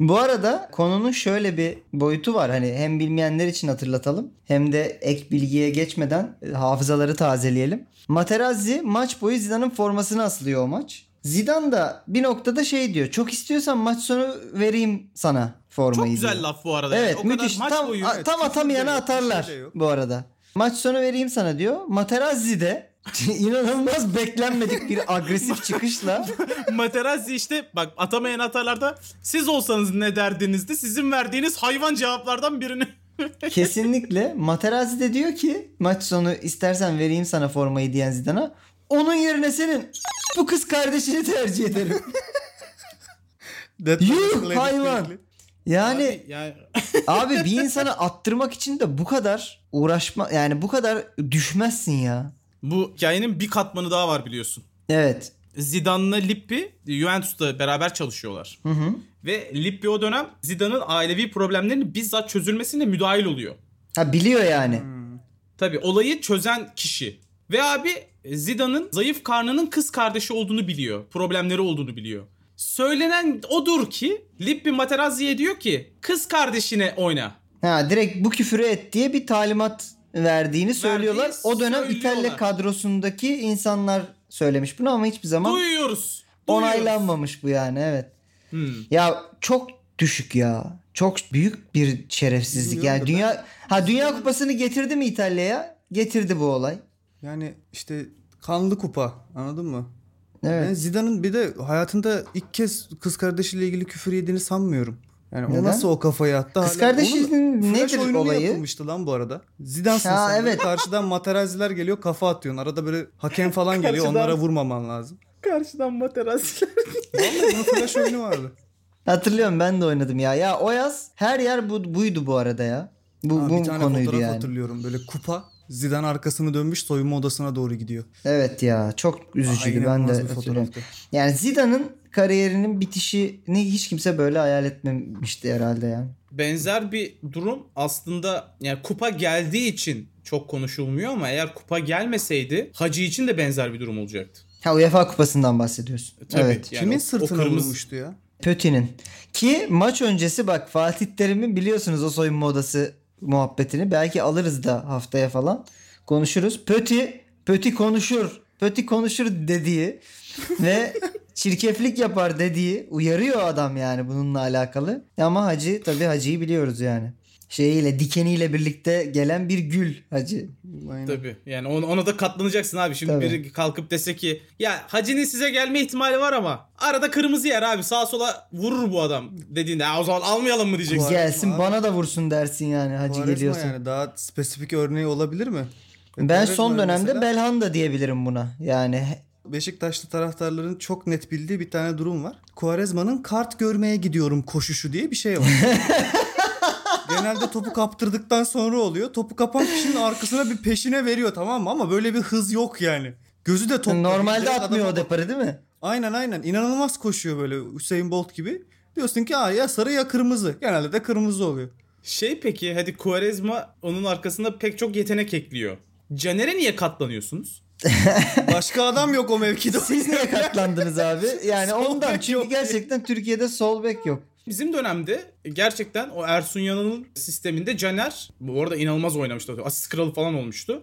Bu arada konunun şöyle bir boyutu var. Hani hem bilmeyenler için hatırlatalım hem de ek bilgiye geçmeden e, hafızaları tazeleyelim. Materazzi maç boyu Zidane'ın formasını asılıyor o maç. Zidane da bir noktada şey diyor. Çok istiyorsan maç sonu vereyim sana Çok formayı. güzel diyor. laf bu arada. Evet o müthiş. kadar maç tam, boyu. a- evet, tam küfür de atamayana yok, bir şey atarlar de yok. bu arada. Maç sonu vereyim sana diyor. Materazzi de inanılmaz beklenmedik bir agresif çıkışla Materazzi işte bak atamayan hatalarda siz olsanız ne derdinizdi? Sizin verdiğiniz hayvan cevaplardan birini. Kesinlikle. Materazzi de diyor ki maç sonu istersen vereyim sana formayı diyen Zidane'a. Onun yerine senin bu kız kardeşini tercih ederim. Yuh hayvan. Yani yani abi, bir insana attırmak için de bu kadar uğraşma yani bu kadar düşmezsin ya. bu hikayenin bir katmanı daha var biliyorsun. Evet. Zidane'la Lippi e, Juventus'ta beraber çalışıyorlar. Hı hı. Ve Lippi o dönem Zidane'ın ailevi problemlerinin bizzat çözülmesine müdahil oluyor. Ha biliyor yani. Hmm. Tabii olayı çözen kişi. Ve abi e, Zidane'ın zayıf karnının kız kardeşi olduğunu biliyor. Problemleri olduğunu biliyor. Söylenen odur ki Lippi Materazzi'ye diyor ki kız kardeşine oyna. Ha direkt bu küfürü et diye bir talimat verdiğini söylüyorlar. o dönem söylüyorlar. İtalya kadrosundaki insanlar söylemiş bunu ama hiçbir zaman Duyuyoruz. duyuyoruz. onaylanmamış bu yani evet. Hmm. Ya çok düşük ya. Çok büyük bir şerefsizlik. Bilmiyorum Yani da dünya ha dünya kupasını getirdi mi İtalya'ya? Getirdi bu olay. Yani işte kanlı kupa anladın mı? Ben Evet. Zidane'ın bir de hayatında ilk kez kız kardeşiyle ilgili küfür yediğini sanmıyorum. Yani Neden? o nasıl o kafayı attı? Kız hala- kardeşinin Onun nedir flash oyununu olayı? yapılmıştı lan bu arada. Zidane'sın Ha, sen. evet. Evet. Karşıdan materaziler geliyor kafa atıyorsun. Arada böyle hakem falan geliyor Karşıdan- onlara vurmaman lazım. Karşıdan Materazzi'ler. Vallahi bunun flash oyunu vardı. Hatırlıyorum ben de oynadım ya. Ya o yaz her yer bu, buydu bu arada ya. Bu, Ha, bu bir tane konuydu fotoğraf yani. hatırlıyorum böyle kupa. Zidane arkasını dönmüş soyunma odasına doğru gidiyor. Evet ya çok üzücüydü ben de İnanılmaz bir hatırlıyorum. fotoğraftı. Yani Zidane'ın kariyerinin bitişini hiç kimse böyle hayal etmemişti herhalde yani. Benzer bir durum aslında yani kupa geldiği için çok konuşulmuyor ama eğer kupa gelmeseydi Hacı için de benzer bir durum olacaktı. Ha UEFA kupasından bahsediyorsun. Tabii. evet. Yani Kimin o- o sırtına kırmızı- vurmuştu ya? Pötin'in. Ki maç öncesi bak Fatih Terim'in biliyorsunuz o soyunma odası muhabbetini. Belki alırız da haftaya falan konuşuruz. Pöti, Pöti konuşur, Pöti konuşur dediği ve çirkeflik yapar dediği uyarıyor adam yani bununla alakalı. Ama Hacı tabii Hacı'yı biliyoruz yani. Şeyiyle dikeniyle birlikte gelen bir gül Hacı. Aynen. Tabii yani ona, ona da katlanacaksın abi. Şimdi Tabii. biri kalkıp dese ki ya Hacı'nin size gelme ihtimali var ama arada kırmızı yer abi sağa sola vurur bu adam dediğinde "Aa, o zaman almayalım mı diyeceksin. Gelsin abi. bana da vursun dersin yani Hacı Quaresma geliyorsun. yani daha spesifik örneği olabilir mi? Ben Devlet son var dönemde mesela. Belhanda diyebilirim buna. Yani he- Beşiktaşlı taraftarların çok net bildiği bir tane durum var. Kuarezma'nın kart görmeye gidiyorum koşuşu diye bir şey var. Genelde topu kaptırdıktan sonra oluyor. Topu kapan kişinin arkasına bir peşine veriyor tamam mı? Ama böyle bir hız yok yani. Gözü de topta. normalde Direkt atmıyor adama o deparı değil mi? Aynen aynen. İnanılmaz koşuyor böyle Hüseyin Bolt gibi. Diyorsun ki "Aa, ya sarı ya kırmızı. Genelde de kırmızı oluyor. Şey peki hadi Quaresma onun arkasında pek çok yetenek ekliyor. Caner'e niye katlanıyorsunuz? Başka adam yok o mevkide. Siz niye katlandınız abi? Yani Sol ondan bek çünkü yok. gerçekten Türkiye'de sol bek yok. Bizim dönemde gerçekten o Ersun Yanal'ın sisteminde Caner bu arada inanılmaz oynamıştı. Asist kralı falan olmuştu.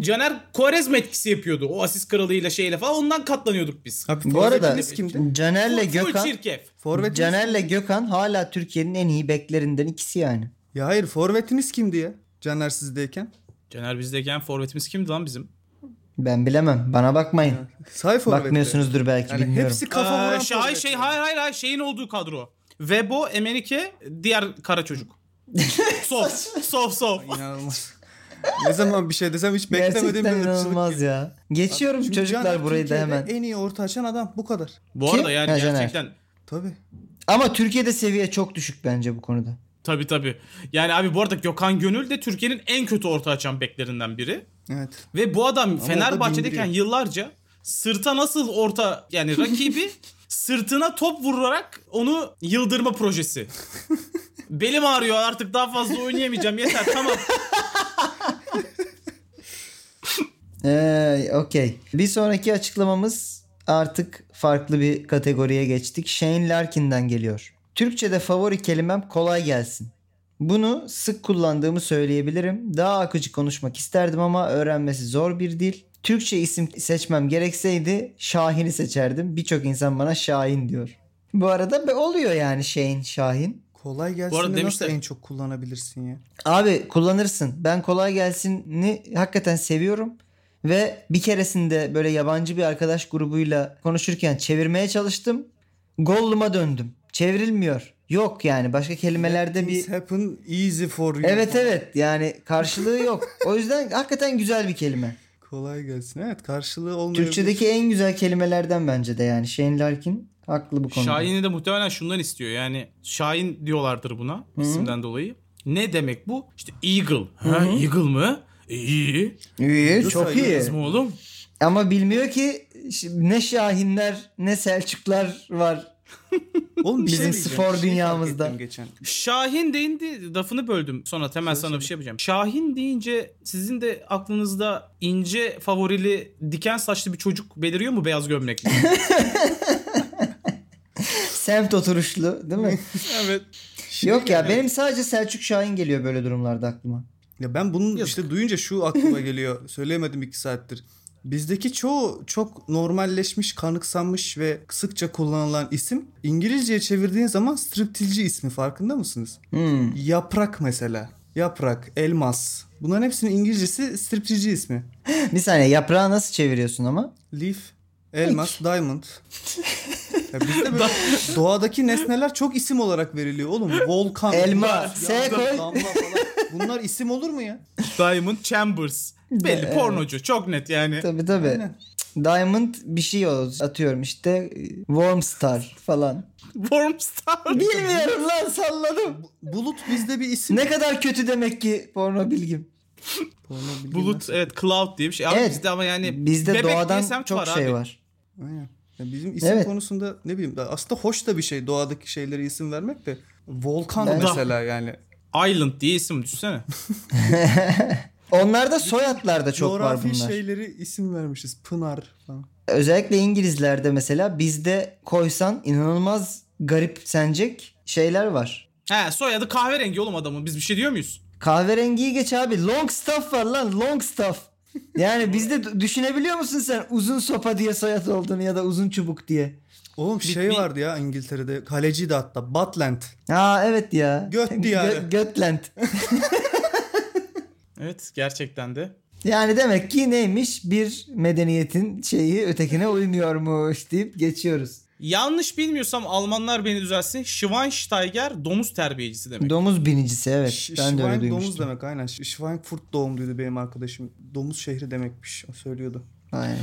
Caner Quaresma etkisi yapıyordu. O asist kralıyla şeyle falan ondan katlanıyorduk biz. Abi, Bu arada forvetiniz kimdi? Caner'le Full- full Gökhan çirkef. Forvetiniz- Caner'le Gökhan hala Türkiye'nin en iyi beklerinden ikisi yani. Ya hayır forvetiniz kimdi ya? Caner sizdeyken. Caner bizdeyken forvetimiz kimdi lan bizim? Ben bilemem. Bana bakmayın. Say forvetti. Bakmıyorsunuzdur belki Yani bilmiyorum. hepsi kafa Ee, vuran şey, hayır, forvet. şey, hayır hayır hayır şeyin olduğu kadro. Vebo, Emenike, diğer kara çocuk. sof, sof, sof. İnanılmaz. ne zaman bir şey desem hiç beklemediğim Gerçekten bir ırkçılık. inanılmaz ya. Geçiyorum Çünkü çocuklar Caner burayı da Türkiye'de hemen. En iyi orta açan adam bu kadar. Bu Kim? arada yani Ha, Caner. gerçekten Tabii. Ama Türkiye'de seviye çok düşük bence bu konuda. Tabi tabi. Yani abi bu arada Gökhan Gönül de Türkiye'nin en kötü orta açan beklerinden biri. Evet. Ve bu adam da Fenerbahçe'deyken bindiriyor. yıllarca sırta nasıl orta yani rakibi sırtına top vurarak onu yıldırma projesi. Belim ağrıyor artık daha fazla oynayamayacağım yeter tamam. Ee, Okey. Bir sonraki açıklamamız artık farklı bir kategoriye geçtik. Shane Larkin'den geliyor. Türkçe'de favori kelimem kolay gelsin. Bunu sık kullandığımı söyleyebilirim. Daha akıcı konuşmak isterdim ama öğrenmesi zor bir dil. Türkçe isim seçmem gerekseydi Şahin'i seçerdim. Birçok insan bana Şahin diyor. Bu arada be- oluyor yani Shane, Şahin. Kolay gelsin Bu arada de demişler- nasıl en çok kullanabilirsin ya? Abi kullanırsın. Ben kolay gelsin'i hakikaten seviyorum. Ve bir keresinde böyle yabancı bir arkadaş grubuyla konuşurken çevirmeye çalıştım. Gollum'a döndüm. Çevrilmiyor. Yok yani başka kelimelerde bir... Things happen easy for you. Evet evet yani karşılığı yok. O yüzden hakikaten güzel bir kelime. Kolay gelsin. Evet karşılığı olmuyor. Türkçedeki en güzel kelimelerden bence de yani. Shane Larkin haklı bu konuda. Şahin'i de muhtemelen şundan istiyor yani Şahin diyorlardır buna isimden dolayı. Ne demek bu? İşte Eagle. Ha, Eagle mı? E, İyi. İyi, çok iyi. Kız mı oğlum? Ama bilmiyor ki ş- ne Şahinler ne Selçuklar var. Oğlum bir şey Bizim diyeceğim. spor Bir şey dünyamızda. fark ettim Geçen. Şahin deyince lafını böldüm. Sonra temel sana bir şey yapacağım. Şahin deyince sizin de aklınızda ince favorili diken saçlı bir çocuk beliriyor mu beyaz gömlekli? Semt oturuşlu değil mi? evet. Yok ya benim sadece Selçuk Şahin geliyor böyle durumlarda aklıma. Ya ben bunun Yazık. işte duyunca şu aklıma geliyor. Söyleyemedim iki saattir. Bizdeki çoğu çok normalleşmiş, kanıksanmış ve sıkça kullanılan isim İngilizceye çevirdiğin zaman striptilci ismi farkında mısınız? Hmm. Yaprak mesela. Yaprak, elmas. Bunların hepsinin İngilizcesi striptilci ismi. Bir saniye yaprağı nasıl çeviriyorsun ama? Leaf, elmas, diamond. Ya bizde böyle doğadaki nesneler çok isim olarak veriliyor oğlum. Volkan, Elma, yağmur, S yağmur, koy. damla falan. Bunlar isim olur mu ya? Diamond Chambers. Belli Evet. pornocu çok net yani. Tabii tabii. Aynen. Diamond bir şey o atıyorum işte e, Warm Star falan. Wormstar. Bilmiyorum lan salladım. Bulut bizde bir isim. Ne kadar kötü demek ki porno bilgim. Porno bilgim yok. Bulut evet cloud diye bir şey. Abi Evet. bizde ama yani Bizde bebek diye doğadan semt çok var şey abi. var. Aynen. Ya bizim isim Evet. konusunda ne bileyim daha- aslında hoş da bir şey doğadaki şeylere isim vermek de. Volkan Ben- mesela yani. Island diye isim düşünsene. Onlarda soyadlarda çok var Coğrafi şey- bunlar. şeyleri isim vermişiz. Pınar falan. Özellikle İngilizlerde mesela bizde koysan inanılmaz garip senecek şeyler var. He soyadı kahverengi oğlum adamın. Biz bir şey diyor muyuz? Kahverengiyi geç abi. Long stuff var lan long stuff. Yani bizde d- düşünebiliyor musun sen uzun sopa diye soyad olduğunu ya da uzun çubuk diye. Oğlum şey bir- vardı ya İngiltere'de kaleciydi hatta Butland. Aa evet ya. Göt diyarı. Götland. Evet gerçekten de. Yani demek ki neymiş bir medeniyetin şeyi ötekine uymuyormuş deyip geçiyoruz. Yanlış bilmiyorsam Almanlar beni düzelsin. Schweinsteiger domuz terbiyecisi demek. Domuz binicisi evet. Ş- ben de öyle Schwein domuz duymuştum. demek aynen. Ş- Schweinfurt doğumluydu benim arkadaşım. Domuz şehri demekmiş o söylüyordu. Aynen.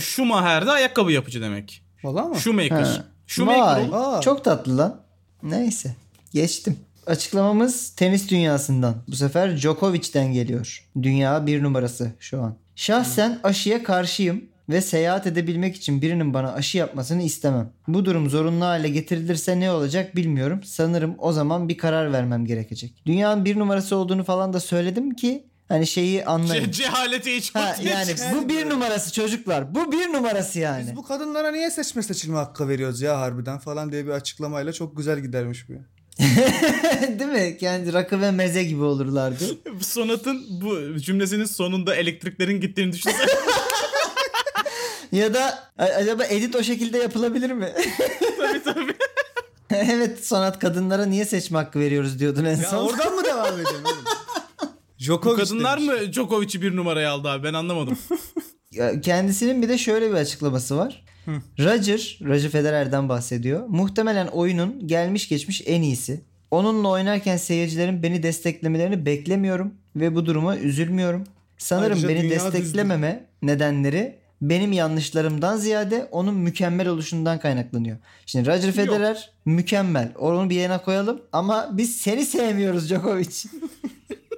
Schumacher de ayakkabı yapıcı demek. Valla mı? Shoemaker. Ha. Shoemaker. oğlum. Aa. Çok tatlı lan. Neyse. Geçtim. Açıklamamız tenis dünyasından. Bu sefer Djokovic'den geliyor. Dünya bir numarası şu an. Şahsen aşıya karşıyım ve seyahat edebilmek için birinin bana aşı yapmasını istemem. Bu durum zorunlu hale getirilirse ne olacak bilmiyorum. Sanırım o zaman bir karar vermem gerekecek. Dünyanın bir numarası olduğunu falan da söyledim ki hani şeyi anlayın. Ce- cehaleti hiç Ha, ortaya yani bu bir numarası çocuklar. Bu bir numarası yani. Biz bu kadınlara niye seçme seçilme hakkı veriyoruz ya harbiden falan diye bir açıklamayla çok güzel gidermiş bu. ya. Değil mi? Yani rakı ve meze gibi olurlardı. çık- Sonat'ın bu cümlesinin sonunda elektriklerin gittiğini düşünsene. ya da a- acaba edit o şekilde yapılabilir mi? tabii tabii. evet sanat kadınlara niye seçme hakkı veriyoruz diyordun en Ya son. oradan mı devam edelim oğlum? Bu Djokovic kadınlar demiş. mı Djokovic'i bir numaraya aldı abi ben anlamadım. Ya Kendisinin bir de şöyle bir açıklaması var. Roger, Roger Federer'den bahsediyor. Muhtemelen oyunun gelmiş geçmiş en iyisi. Onunla oynarken seyircilerin beni desteklemelerini beklemiyorum ve bu duruma üzülmüyorum. Sanırım Ayrıca beni dünya desteklememe nedenleri benim yanlışlarımdan ziyade onun mükemmel oluşundan kaynaklanıyor. Şimdi Roger Federer mükemmel. Onu bir yana koyalım ama biz seni sevmiyoruz Djokovic.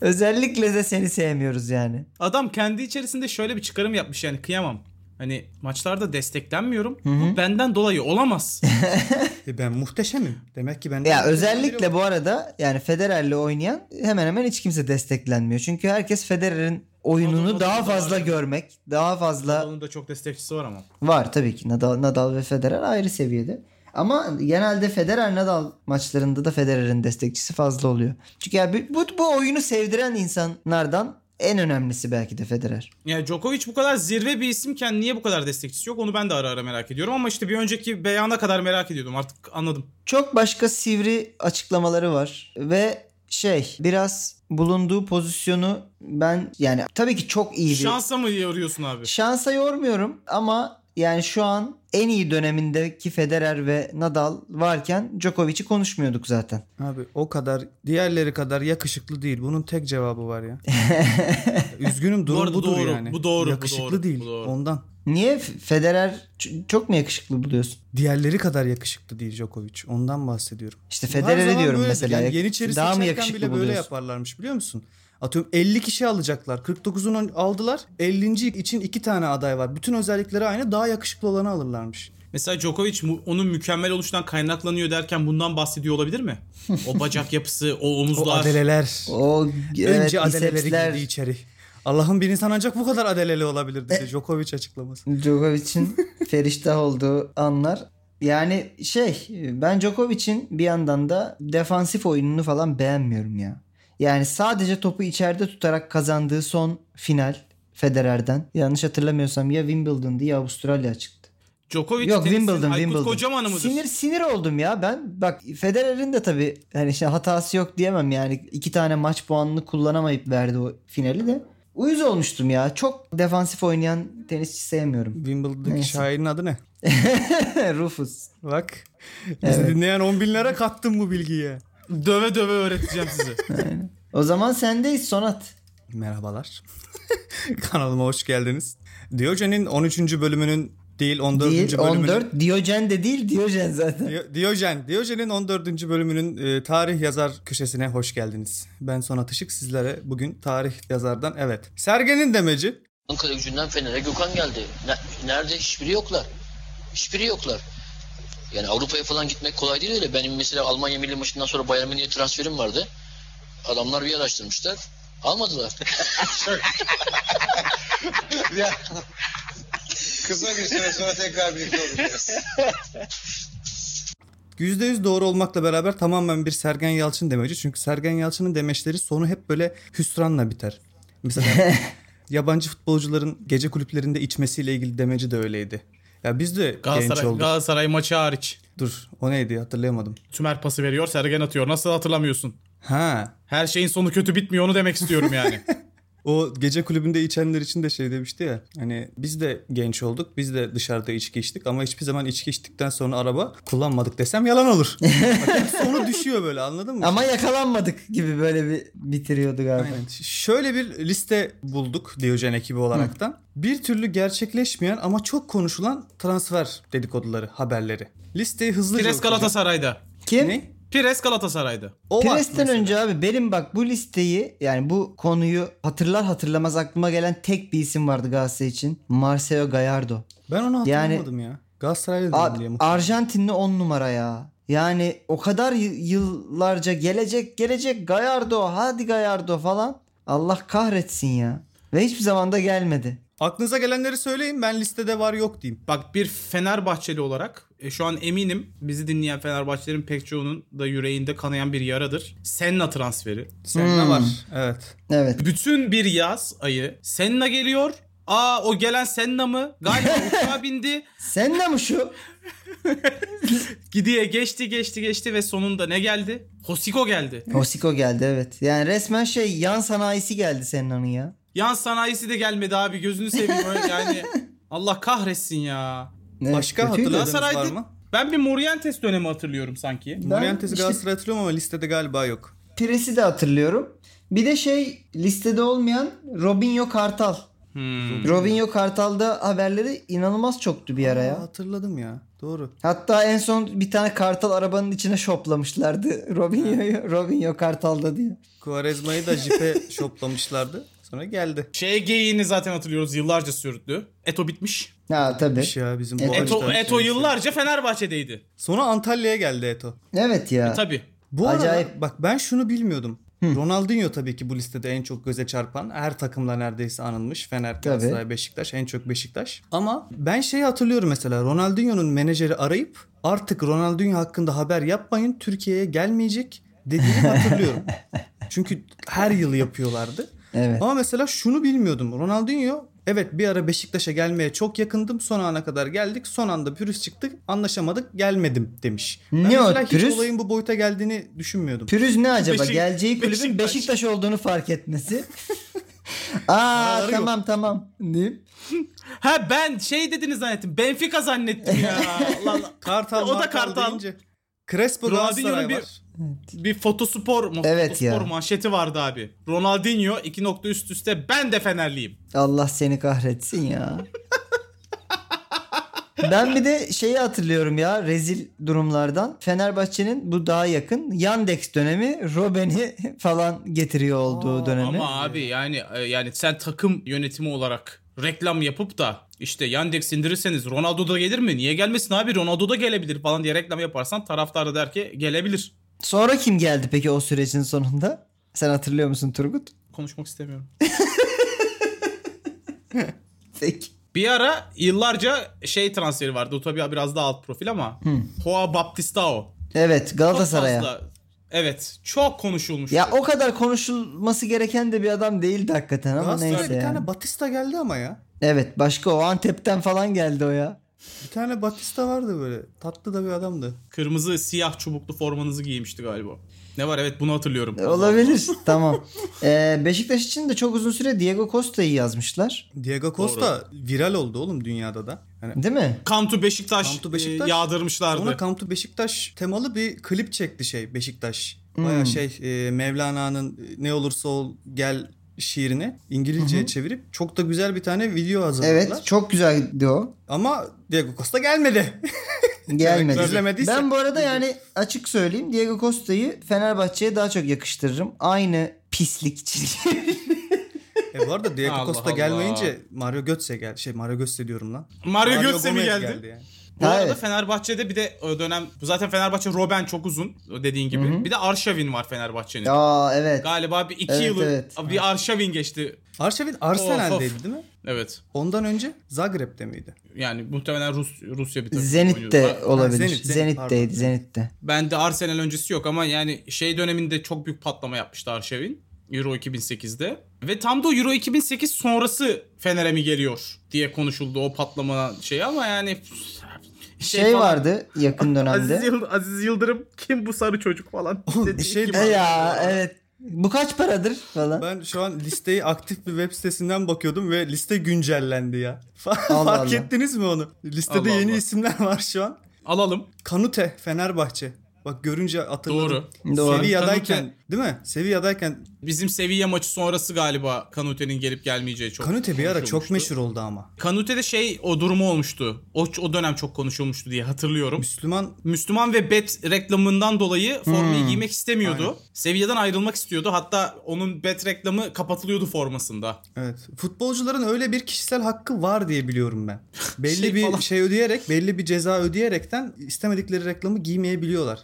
Özellikle de seni sevmiyoruz yani. Adam kendi içerisinde şöyle bir çıkarım yapmış yani kıyamam. Hani maçlarda desteklenmiyorum. Bu benden dolayı olamaz. E ben muhteşemim. Demek ki ben de Ya muhteşem özellikle biri- bu arada yani Federer'le oynayan hemen hemen hiç kimse desteklenmiyor. Çünkü herkes Federer'in oyununu Nadal'ın daha da fazla var. görmek, daha fazla Onun da çok destekçisi var ama. var tabii ki. Nadal, Nadal ve Federer ayrı seviyede. Ama genelde Federer Nadal maçlarında da Federer'in destekçisi fazla oluyor. Çünkü ya bu, bu, bu oyunu sevdiren insanlardan en önemlisi belki de Federer. Yani Djokovic bu kadar zirve bir isimken niye bu kadar destekçisi yok onu ben de ara ara merak ediyorum. Ama işte bir önceki beyana kadar merak ediyordum artık anladım. Çok başka sivri açıklamaları var ve şey biraz bulunduğu pozisyonu ben yani tabii ki çok iyi bir Şansa mı yoruyorsun abi? Şansa yormuyorum ama yani şu an en iyi dönemindeki Federer ve Nadal varken Djokovic'i konuşmuyorduk zaten. Abi o kadar diğerleri kadar yakışıklı değil. Bunun tek cevabı var ya. Üzgünüm durum Bu arada budur doğru, yani. bu doğru, bu Yakışıklı doğru, değil bu doğru. ondan. Niye F- Federer ç- çok mu yakışıklı buluyorsun? Diğerleri kadar yakışıklı değil Djokovic. Ondan bahsediyorum. İşte Her Federer'e zaman diyorum böyledir. mesela. Yani Yeniçeri Daha mı seçerken yakışıklı bile böyle buluyorsun? yaparlarmış biliyor musun? Atıyorum 50 kişi alacaklar. 49'unu aldılar. 50. için 2 tane aday var. Bütün özellikleri aynı. Daha yakışıklı olanı alırlarmış. Mesela Djokovic mu- onun mükemmel oluşundan kaynaklanıyor derken bundan bahsediyor olabilir mi? O bacak yapısı, o O omuzlar. adeleler. O evet, Önce adeleleri bisepsler- girdi içeri. Allah'ım bir insan ancak bu kadar adeleli olabilir dedi Djokovic açıklaması. Djokovic'in feriştah olduğu anlar. Yani şey ben Djokovic'in bir yandan da defansif oyununu falan beğenmiyorum ya. Yani sadece topu içeride tutarak kazandığı son final Federer'den. Yanlış hatırlamıyorsam ya Wimbledon'du ya Avustralya çıktı. Djokovic Yok tenisin Wimbledon Aykut Wimbledon. Kocaman'ı mıdır? Sinir sinir oldum ya ben. Bak Federer'in de tabii hani şey, hatası yok diyemem yani. iki tane maç puanını kullanamayıp verdi o finali de. Uyuz olmuştum ya. Çok defansif oynayan tenisçi sevmiyorum. Wimbledon'daki Neyse. şairin adı ne? Rufus. Bak. Bizi dinleyen 10 binlere kattım bu bilgiye. Döve döve öğreteceğim size. O zaman sendeyiz Sonat. Merhabalar. Kanalıma hoş geldiniz. Diyojen'in 13. bölümünün değil 14. Değil bölümünün. 14. Diyojen de değil Diyojen zaten. Diyo- Diyojen. Diyojen'in 14. bölümünün e, tarih yazar köşesine hoş geldiniz. Ben Sonat Işık sizlere bugün tarih yazardan evet. Sergen'in demeci Ankara gücünden Fener'e Gökhan geldi. Ne- Nerede? Hiçbiri yoklar. Hiçbiri yoklar. Yani Avrupa'ya falan gitmek kolay değil öyle. Benim mesela Almanya milli maçından sonra Bayern Münih'e transferim vardı. Adamlar bir araştırmışlar. Almadılar. Ya kısa bir süre sonra tekrar birlikte olacağız. %100 doğru olmakla beraber tamamen bir Sergen Yalçın demeci. Çünkü Sergen Yalçın'ın demeçleri sonu hep böyle hüsranla biter. Mesela yabancı futbolcuların gece kulüplerinde içmesiyle ilgili demeci de öyleydi. Ya biz de genç Galatasaray, olduk. Galatasaray maçı hariç. Dur o neydi hatırlayamadım. Tümer pası veriyor, Sergen atıyor. Nasıl hatırlamıyorsun? Ha Her şeyin sonu kötü bitmiyor onu demek istiyorum yani. O gece kulübünde içenler için de şey demişti ya. Hani biz de genç olduk. Biz de dışarıda içki içtik ama hiçbir zaman içki içtikten sonra araba kullanmadık desem yalan olur. Bak, Sonu düşüyor böyle anladın mı? Ama yakalanmadık gibi böyle bir bitiriyordu galiba. Aynen. Ş- Şöyle bir liste bulduk Diyojen ekibi olaraktan. Bir türlü gerçekleşmeyen ama çok konuşulan transfer dedikoduları, haberleri. Listeyi hızlıca Pires okuyacağım. Galatasaray'da. Kim? Ne? Pires Galatasaray'da. O var Pires'ten mesela. önce abi benim bak bu listeyi yani bu konuyu hatırlar hatırlamaz aklıma gelen tek bir isim vardı Galatasaray için. Marcelo Gallardo. Ben onu Yani- hatırlamadım ya. Galatasaraylı A- değilim diye muhtemelen. Arjantinli 10 numara ya. Yani o kadar y- yıllarca gelecek gelecek Gallardo hadi Gallardo falan. Allah kahretsin ya. Ve hiçbir zaman da gelmedi. Aklınıza gelenleri söyleyin ben listede var yok diyeyim. Bak bir Fenerbahçeli olarak e, şu an eminim bizi dinleyen Fenerbahçelerin pek çoğunun da yüreğinde kanayan bir yaradır. Senna transferi. Senin Hmm. var. Evet. Evet. Bütün bir yaz ayı Senna geliyor. Aa o gelen Senna mı? Galiba uçağa bindi. Sen de mi şu? Gidiye geçti geçti geçti ve sonunda ne geldi? Hosiko geldi. Osiko geldi evet. Yani resmen şey yan sanayisi geldi senin onun ya. Yan sanayisi de gelmedi abi gözünü seveyim öyle yani. Allah kahretsin ya. Evet, Başka kötüydü. hatırladığınız var Galatasaray'da mı? ben bir Morientes dönemi hatırlıyorum sanki. Ben Morientes'i işte- Galatasaray hatırlıyorum ama listede galiba yok. Pires'i de hatırlıyorum. Bir de şey listede olmayan Robinho Kartal. Hmm. Robinho Kartal'da haberleri inanılmaz çoktu bir ara Aa, ya. hatırladım ya. Doğru. Hatta en son bir tane kartal arabanın içine şoplamışlardı Robinho'yu. Robinho Kartal'da diye. Kuvarezma'yı da jipe şoplamışlardı. Sonra geldi. Şey geyiğini zaten hatırlıyoruz yıllarca sürdü. Eto bitmiş. Ha tabii. Bir şey ya bizim bu Eto- Eto, açıdan Eto şeyimiz. yıllarca Fenerbahçe'deydi. Sonra Antalya'ya geldi Eto. Evet ya. Tabii. Bu Acayip. arada bak ben şunu bilmiyordum. Ronaldinho tabii ki bu listede en çok göze çarpan. Her takımla neredeyse anılmış. Fener, Galatasaray, Beşiktaş. En çok Beşiktaş. Ama ben şeyi hatırlıyorum mesela. Ronaldinho'nun menajeri arayıp artık Ronaldinho hakkında haber yapmayın. Türkiye'ye gelmeyecek dediğini hatırlıyorum. Çünkü her yıl yapıyorlardı. Evet. Ama mesela şunu bilmiyordum. Ronaldinho evet bir ara Beşiktaş'a gelmeye çok yakındım. Son ana kadar geldik. Son anda pürüz çıktık. Anlaşamadık. Gelmedim demiş. Ben Ne o mesela hiç pürüz? olayın bu boyuta geldiğini düşünmüyordum. Pürüz ne acaba? Beşik- Geleceği kulübün Beşiktaş. Beşiktaş. olduğunu fark etmesi. Aa Araları yok. tamam tamam. Diyeyim. Ha ben şey dediniz zannettim. Benfica zannettim ya. Allah Allah. Kartal O da Martal Kartal. deyince. Crespo Ronaldinho'nun Galatasaray bir- var. Bir fotospor, mu- Evet fotospor ya. manşeti vardı abi. Ronaldinho iki nokta üst üste ben de Fenerliyim. Allah seni kahretsin ya. Ben bir de şeyi hatırlıyorum ya rezil durumlardan. Fenerbahçe'nin bu daha yakın Yandex dönemi Robben'i falan getiriyor olduğu dönemi. Ama abi yani e, yani sen takım yönetimi olarak reklam yapıp da işte Yandex indirirseniz Ronaldo da gelir mi? Niye gelmesin abi? Ronaldo da gelebilir falan diye reklam yaparsan taraftar da der ki gelebilir. Sonra kim geldi peki o sürecin sonunda? Sen hatırlıyor musun Turgut? Konuşmak istemiyorum. Peki. Bir ara yıllarca şey transferi vardı. O tabii biraz daha alt profil ama. Hoa Baptistao. Evet Çok Galatasaray'a. fazla. Evet. Çok konuşulmuş. Ya o kadar konuşulması gereken de bir adam değildi hakikaten ama Galatasaray'a neyse bir yani. tane Batista geldi ama ya. Evet başka o Antep'ten falan geldi o ya. Bir tane Batista vardı böyle. Tatlı da bir adamdı. Kırmızı siyah çubuklu formanızı giymişti galiba. Ne var evet bunu hatırlıyorum. E, Olabilir tamam. Ee, Beşiktaş için de çok uzun süre Diego Costa'yı yazmışlar. Diego Costa viral oldu oğlum dünyada da. Yani Değil mi? Kantu Beşiktaş, Kantu Beşiktaş. e, yağdırmışlardı. Sonra Come to Beşiktaş temalı bir klip çekti şey Beşiktaş. Hmm. Baya şey e, Mevlana'nın e, ne olursa ol gel şiirini İngilizceye çevirip çok da güzel bir tane video hazırladılar. Evet çok güzeldi o. Ama Diego Costa gelmedi. Gelmedi. Özlemediyse- ben bu arada yani açık söyleyeyim Diego Costa'yı Fenerbahçe'ye daha çok yakıştırırım. Aynı pislik çirkin. e bu arada Diego Allah Costa Allah. gelmeyince Mario Götze gel şey Mario Götze diyorum lan. Mario Götze mi Gomez geldi? yani. Bu arada Evet. Fenerbahçe'de bir de o dönem zaten Fenerbahçe Robben çok uzun dediğin gibi. Bir de Arşavin var Fenerbahçe'nin. Aa evet. Galiba bir iki Evet, yılı evet. bir Arşavin geçti. Arşavin Arsenal'deydi Of, of. değil mi? Evet. Ondan önce Zagreb'de miydi? Yani muhtemelen Rus Rusya bir takım. Zenit'te oynuyordu. olabilir. Zenit, Zenit, Zenit'teydi pardon. Zenit'te. Ben de Arsenal öncesi yok ama yani şey döneminde çok büyük patlama yapmıştı Arşavin. Euro 2008'de. Ve tam da o Euro 2008 sonrası Fener'e mi geliyor diye konuşuldu o patlama şey ama yani Şey, falan. vardı yakın Aziz, dönemde. Yıld- Aziz Yıldırım kim bu sarı çocuk falan. Oğlum, dediği bir şey gibi. E ya evet Bu kaç paradır falan. Ben şu an listeyi aktif bir web sitesinden bakıyordum ve liste güncellendi ya. Fark Allah Allah. ettiniz mi onu? Listede Allah yeni Allah. isimler var şu an. Alalım. Kanute Fenerbahçe. Bak görünce hatırladım. Doğru. Doğru. Sevilla'dayken Kanute- değil mi? Sevilla'dayken Bizim seviye maçı sonrası galiba Kanute'nin gelip gelmeyeceği çok Kanute bir ara çok konuşulmuştu. meşhur oldu ama. Kanute'de şey o durumu olmuştu. O, o dönem çok konuşulmuştu diye hatırlıyorum. Müslüman Müslüman ve bet reklamından dolayı formayı Hmm. giymek istemiyordu. Sevilla'dan ayrılmak istiyordu. Hatta onun bet reklamı kapatılıyordu formasında. evet. Futbolcuların öyle bir kişisel hakkı var diye biliyorum ben. Belli Şey bir falan. şey ödeyerek, belli bir ceza ödeyerekten istemedikleri reklamı giymeyebiliyorlar.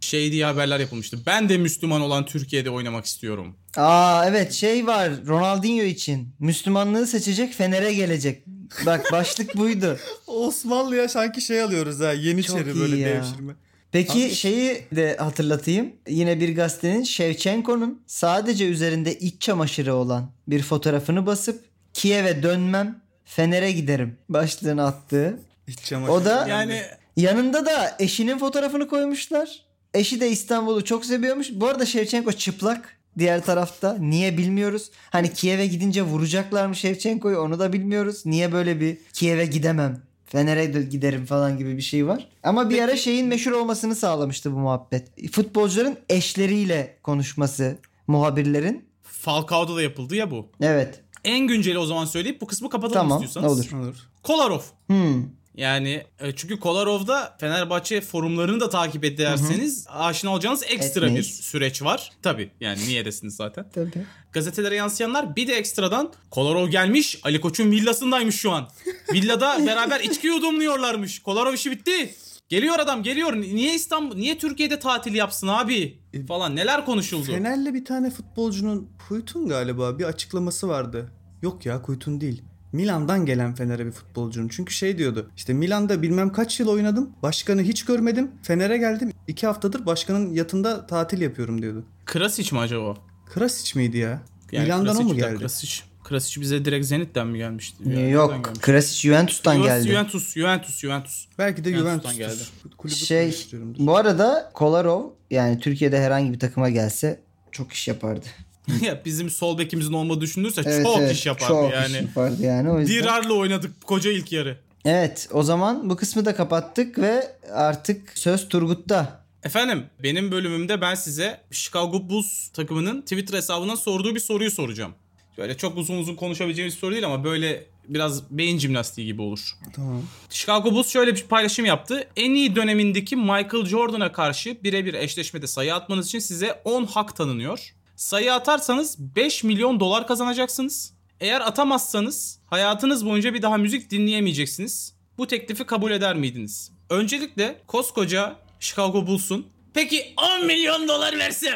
Şey diye haberler yapılmıştı. Ben de Müslüman olan Türkiye'de oynamak istiyorum. Aa evet şey var Ronaldinho için. Müslümanlığı seçecek Fener'e gelecek. Bak başlık buydu. Osmanlı'ya sanki şey alıyoruz ha. Yeniçeri iyi böyle ya. devşirme. Peki şeyi de hatırlatayım. Yine bir gazetenin Şevçenko'nun sadece üzerinde iç çamaşırı olan bir fotoğrafını basıp Kiev'e dönmem Fener'e giderim başlığını attığı. İç çamaşırı. O da Yani yanında da eşinin fotoğrafını koymuşlar. Eşi de İstanbul'u çok seviyormuş. Bu arada Şevçenko çıplak diğer tarafta. Niye bilmiyoruz. Hani Kiev'e gidince vuracaklar mı Şevçenko'yu onu da bilmiyoruz. Niye böyle bir Kiev'e gidemem. Fener'e de giderim falan gibi bir şey var. Ama bir ara şeyin meşhur olmasını sağlamıştı bu muhabbet. Futbolcuların eşleriyle konuşması muhabirlerin. Falcao'da da yapıldı ya bu. Evet. En günceli o zaman söyleyip bu kısmı kapatalım Tamam. istiyorsanız. Olur. Olur. Kolarov. Hmm. Yani e, çünkü Kolarov'da Fenerbahçe forumlarını da takip ederseniz aşina olacağınız ekstra Etmeyiz. bir süreç var. Tabii yani niye desiniz zaten. Tabii. Gazetelere yansıyanlar bir de ekstradan Kolarov gelmiş Ali Koç'un villasındaymış şu an. Villada beraber içki yudumluyorlarmış. Kolarov işi bitti. Geliyor adam geliyor. Niye İstanbul niye Türkiye'de tatil yapsın abi? E, Falan neler konuşuldu. Fener'le bir tane futbolcunun Kuytun galiba bir açıklaması vardı. Yok ya Kuytun değil. Milan'dan gelen Fener'e bir futbolcunun. Çünkü şey diyordu. İşte Milan'da bilmem kaç yıl oynadım. Başkanı hiç görmedim. Fener'e geldim. iki haftadır başkanın yatında tatil yapıyorum diyordu. Krasic mi acaba? o? Krasic miydi ya? Yani Milan'dan o mu Krasic- geldi? Krasic. Krasic bize direkt Zenit'ten mi gelmişti? Yani nereden Yok. gelmiş? Krasic Juventus'tan Juventus, geldi. Juventus, Juventus, Juventus. Belki de Juventus'tan Juventus'tan geldi. geldi. Kulübü Şey konuşturuyorumdur. bu arada Kolarov yani Türkiye'de herhangi bir takıma gelse çok iş yapardı. ya bizim sol bekimizin olmadığı düşünülürse Evet, çok evet, iş yapardı çok yani. iş yapardı yani. O yüzden. Dirar'la oynadık koca ilk yarı. Evet o zaman bu kısmı da kapattık ve artık söz Turgut'ta. Efendim benim bölümümde ben size Chicago Bulls takımının Twitter hesabından sorduğu bir soruyu soracağım. Böyle çok uzun uzun konuşabileceğimiz bir soru değil ama böyle biraz beyin jimnastiği gibi olur. Tamam. Chicago Bulls şöyle bir paylaşım yaptı. En iyi dönemindeki Michael Jordan'a karşı birebir eşleşmede sayı atmanız için size 10 hak tanınıyor. Sayı atarsanız 5 milyon dolar kazanacaksınız. Eğer atamazsanız hayatınız boyunca bir daha müzik dinleyemeyeceksiniz. Bu teklifi kabul eder miydiniz? Öncelikle koskoca Chicago Bulls'un peki 10 milyon dolar versem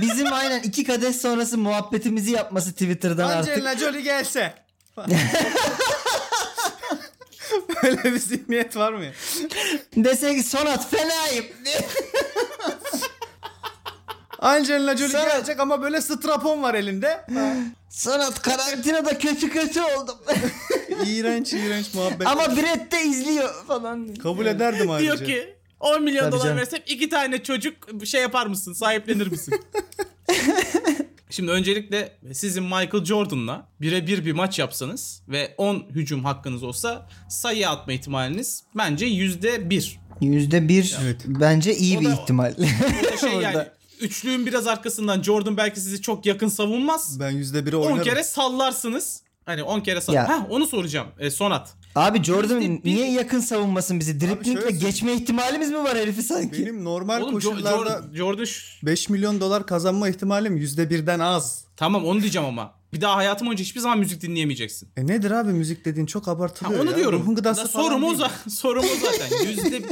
Bizim aynen iki kadeh sonrası muhabbetimizi yapması Twitter'dan artık. Angelina Jolie gelse. Böyle bir zihniyet var mı ya? Dese ki Sonat fenayım. Angelina Jolie Sana- gelecek ama böyle strapon var elinde. Sonat karantinada kötü kötü oldum. iğrenç iğrenç muhabbet. Ama Brett de izliyor falan. Kabul ederdim ayrıca. diyor ki 10 milyon Tabii dolar canım. versem iki tane çocuk şey yapar mısın? Sahiplenir misin? Şimdi öncelikle sizin Michael Jordan'la birebir bir maç yapsanız ve 10 hücum hakkınız olsa sayı atma ihtimaliniz bence %1. Yüzde bir Evet. bence iyi O bir da- ihtimal. Bu da şey yani Orada. üçlüğün biraz arkasından Jordan belki sizi çok yakın savunmaz. Ben yüzde biri 10 oynarım. kere sallarsınız. Hani 10 kere sall. Ya. Heh, onu soracağım. E, Sonat. Abi Jordan Yüzde bir- niye yakın savunmasın bizi? Driplingle şöyle- geçme ihtimalimiz mi var herifi sanki? Benim normal Oğlum Jo- koşullarda Jordan, Jordan şu- 5 milyon dolar kazanma ihtimalim yüzde birden az. Tamam onu diyeceğim ama. Bir daha hayatım boyunca hiçbir zaman müzik dinleyemeyeceksin. E nedir abi müzik dediğin çok Ha, abartılıyor onu ya. diyorum. Ruhun gıdası La, falan sorum, o değil. zaten, sorum o zaten. Yüzde,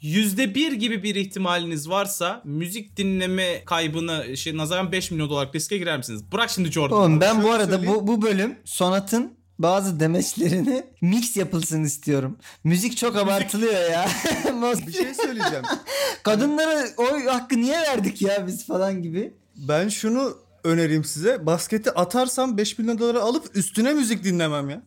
yüzde bir gibi bir ihtimaliniz varsa müzik dinleme kaybına şey, nazaran 5 milyon dolarlık riske girer misiniz? Bırak şimdi Jordan. Oğlum ben bu şöyle arada söyleyeyim. bu, bu bölüm Sonat'ın bazı demeçlerini mix yapılsın istiyorum. Müzik çok abartılıyor ya. Bir şey söyleyeceğim. Kadınlara oy hakkı niye verdik ya biz falan gibi. ben şunu önereyim size. Basketi atarsam 5 milyon dolara alıp üstüne müzik dinlemem ya.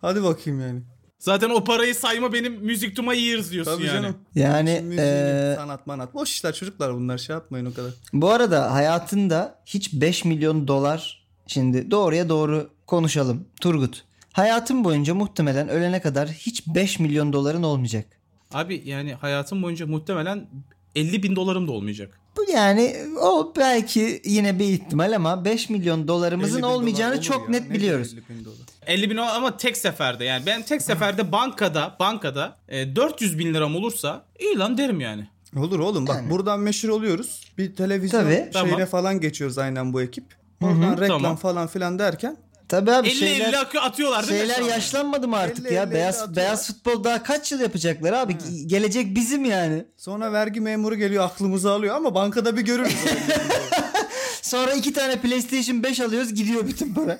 Hadi bakayım yani. Zaten o parayı sayma benim Music to my ears diyorsun Tabii yani. canım. Yani Şimdi eee, sanat manat. Boş işler çocuklar bunlar şey yapmayın o kadar. bu arada hayatında hiç 5 milyon dolar şimdi doğruya doğru konuşalım Turgut. Hayatın boyunca muhtemelen ölene kadar hiç 5 milyon doların olmayacak. Abi yani hayatım boyunca muhtemelen 50 bin dolarım da olmayacak. Bu yani o belki yine bir ihtimal ama 5 milyon 50 dolarımızın bin dolar olmayacağını olur çok ya. net Ne biliyoruz. 50 bin dolar? 50 bin o- ama tek seferde yani. Ben tek seferde bankada bankada e, 400 bin liram olursa iyi lan derim yani. Olur oğlum bak Yani. buradan meşhur oluyoruz. Bir televizyon Tabii. şeyine Tamam. falan geçiyoruz aynen bu ekip. Oradan reklam Tamam. falan filan derken Tabii abi 50 şeyler 50 akı atıyorlar değil şeyler mi? yaşlanmadı mı artık 50, ya? 50 beyaz atıyor. beyaz futbol daha kaç yıl yapacaklar abi? Ge- Gelecek bizim yani. sonra vergi memuru geliyor aklımızı alıyor ama bankada bir görürüz. Sonra iki tane PlayStation 5 alıyoruz gidiyor bütün para.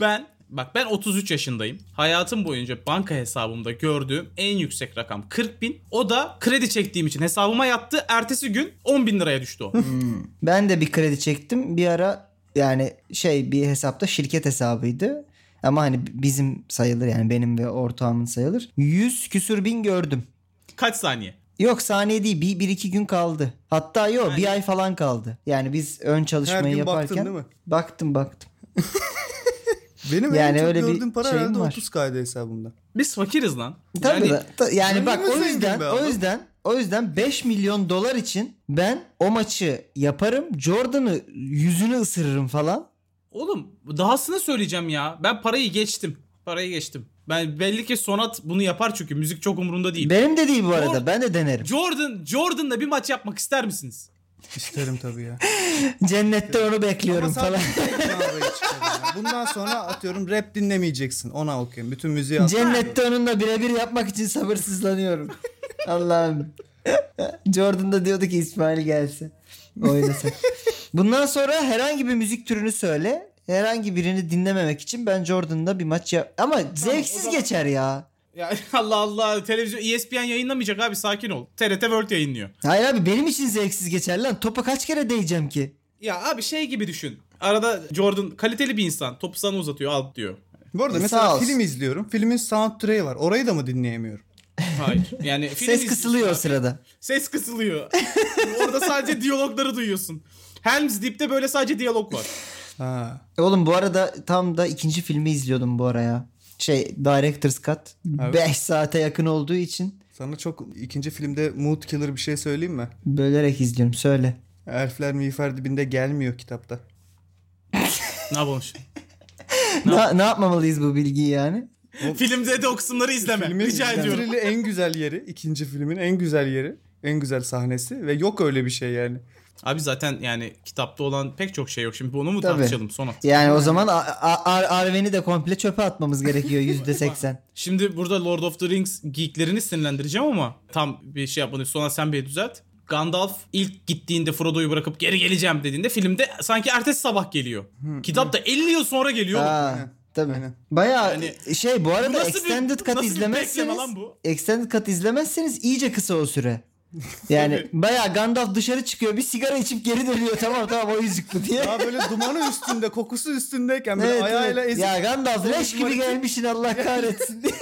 Ben bak ben 33 yaşındayım. Hayatım boyunca banka hesabımda gördüğüm en yüksek rakam 40 bin. O da kredi çektiğim için hesabıma yattı. Ertesi gün 10 bin liraya düştü o. ben de bir kredi çektim. Bir ara yani şey bir hesapta şirket hesabıydı. Ama hani bizim sayılır yani benim ve ortağımın sayılır. 100 küsür bin gördüm. Kaç saniye? Yok saniye değil bir, bir iki gün kaldı. Hatta yok Yani- bir ay falan kaldı. Yani biz ön çalışmayı Her gün baktın yaparken. değil mi? Baktım baktım. Benim Yani en çok öyle bir gördüğüm para şeyim herhalde var. 30 kaydı hesabımda. Biz fakiriz lan. Tabii yani, yani, yani Zengin bak mi o zengin yüzden be o adam? yüzden o yüzden 5 milyon dolar için ben o maçı yaparım. Jordan'ı yüzünü ısırırım falan. Oğlum dahasını söyleyeceğim ya. Ben parayı geçtim. Parayı geçtim. Ben belli ki Sonat bunu yapar çünkü müzik çok umurunda değil. Benim de değil bu arada. Jordan- Ben de denerim. Jordan Jordan'la bir maç yapmak ister misiniz? İsterim tabii ya. Cennette onu Ama bekliyorum falan. sadece tek mağaraya çıkarım ya. Bundan sonra atıyorum rap dinlemeyeceksin. Ona okuyayım. Bütün müziği at. Cennette onunla birebir yapmak için sabırsızlanıyorum. Allah'ım. Jordan da diyordu ki İsmail gelsin. Oynasın. Bundan sonra herhangi bir müzik türünü söyle. Herhangi birini dinlememek için ben Jordan'la bir maç yap... Ama zevksiz geçer ya. Ya Allah Allah televizyon E ESPN yayınlamayacak abi sakin ol. TRT World yayınlıyor. Hayır abi benim için zevksiz geçer lan. Topa kaç kere değeceğim ki? Ya abi şey gibi düşün. Arada Jordan kaliteli bir insan. Topu sana uzatıyor al diyor. Bu arada E, sağ mesela olsun. film izliyorum. Filmin soundtrack'i var. Orayı da mı dinleyemiyorum? Hayır. Yani film Ses iz- kısılıyor o sırada. Ses kısılıyor. Orada sadece diyalogları duyuyorsun. Helm's Deep'te böyle sadece diyalog var. Ha. Oğlum bu arada tam da ikinci filmi izliyordum bu araya. Şey Director's Cut. 5 saate yakın olduğu için Sana çok ikinci filmde mood killer bir şey söyleyeyim mi? bölerek izliyorum. Söyle. Elfler miğfer dibinde gelmiyor kitapta. ne yapalım şimdi? Ne, ne yapmamalıyız bu bilgiyi yani? Filmde de o kısımları izleme. Filmin Rica ediyorum. bitirili en güzel yeri, ikinci filmin en güzel yeri, en güzel sahnesi ve yok öyle bir şey yani. Abi zaten yani kitapta olan pek çok şey yok. Şimdi bunu mu Tabii. tartışalım sonra? Yani o zaman A- A- Ar- Arven'i de komple çöpe atmamız gerekiyor %80. Şimdi burada Lord of the Rings geeklerini sinirlendireceğim ama tam bir şey yapmadım. Sonra sen beni düzelt. Gandalf ilk gittiğinde Frodo'yu bırakıp geri geleceğim dediğinde filmde sanki ertesi sabah geliyor. Kitapta 50 yıl sonra geliyor. Aa, tabii. Aynen. Bayağı Yani- şey bu arada nasıl bir- extended cut nasıl bir izlemezseniz bekleme lan bu? extended cut izlemezseniz iyice kısa o süre. Yani bayağı Gandalf dışarı çıkıyor bir sigara içip geri dönüyor tamam tamam o yüzük bu diye. Daha böyle dumanı üstünde, kokusu üstündeyken böyle Evet, ayağıyla evet. ezip Ya Gandalf leş gibi Dumanı- gelmişsin Allah kahretsin diye.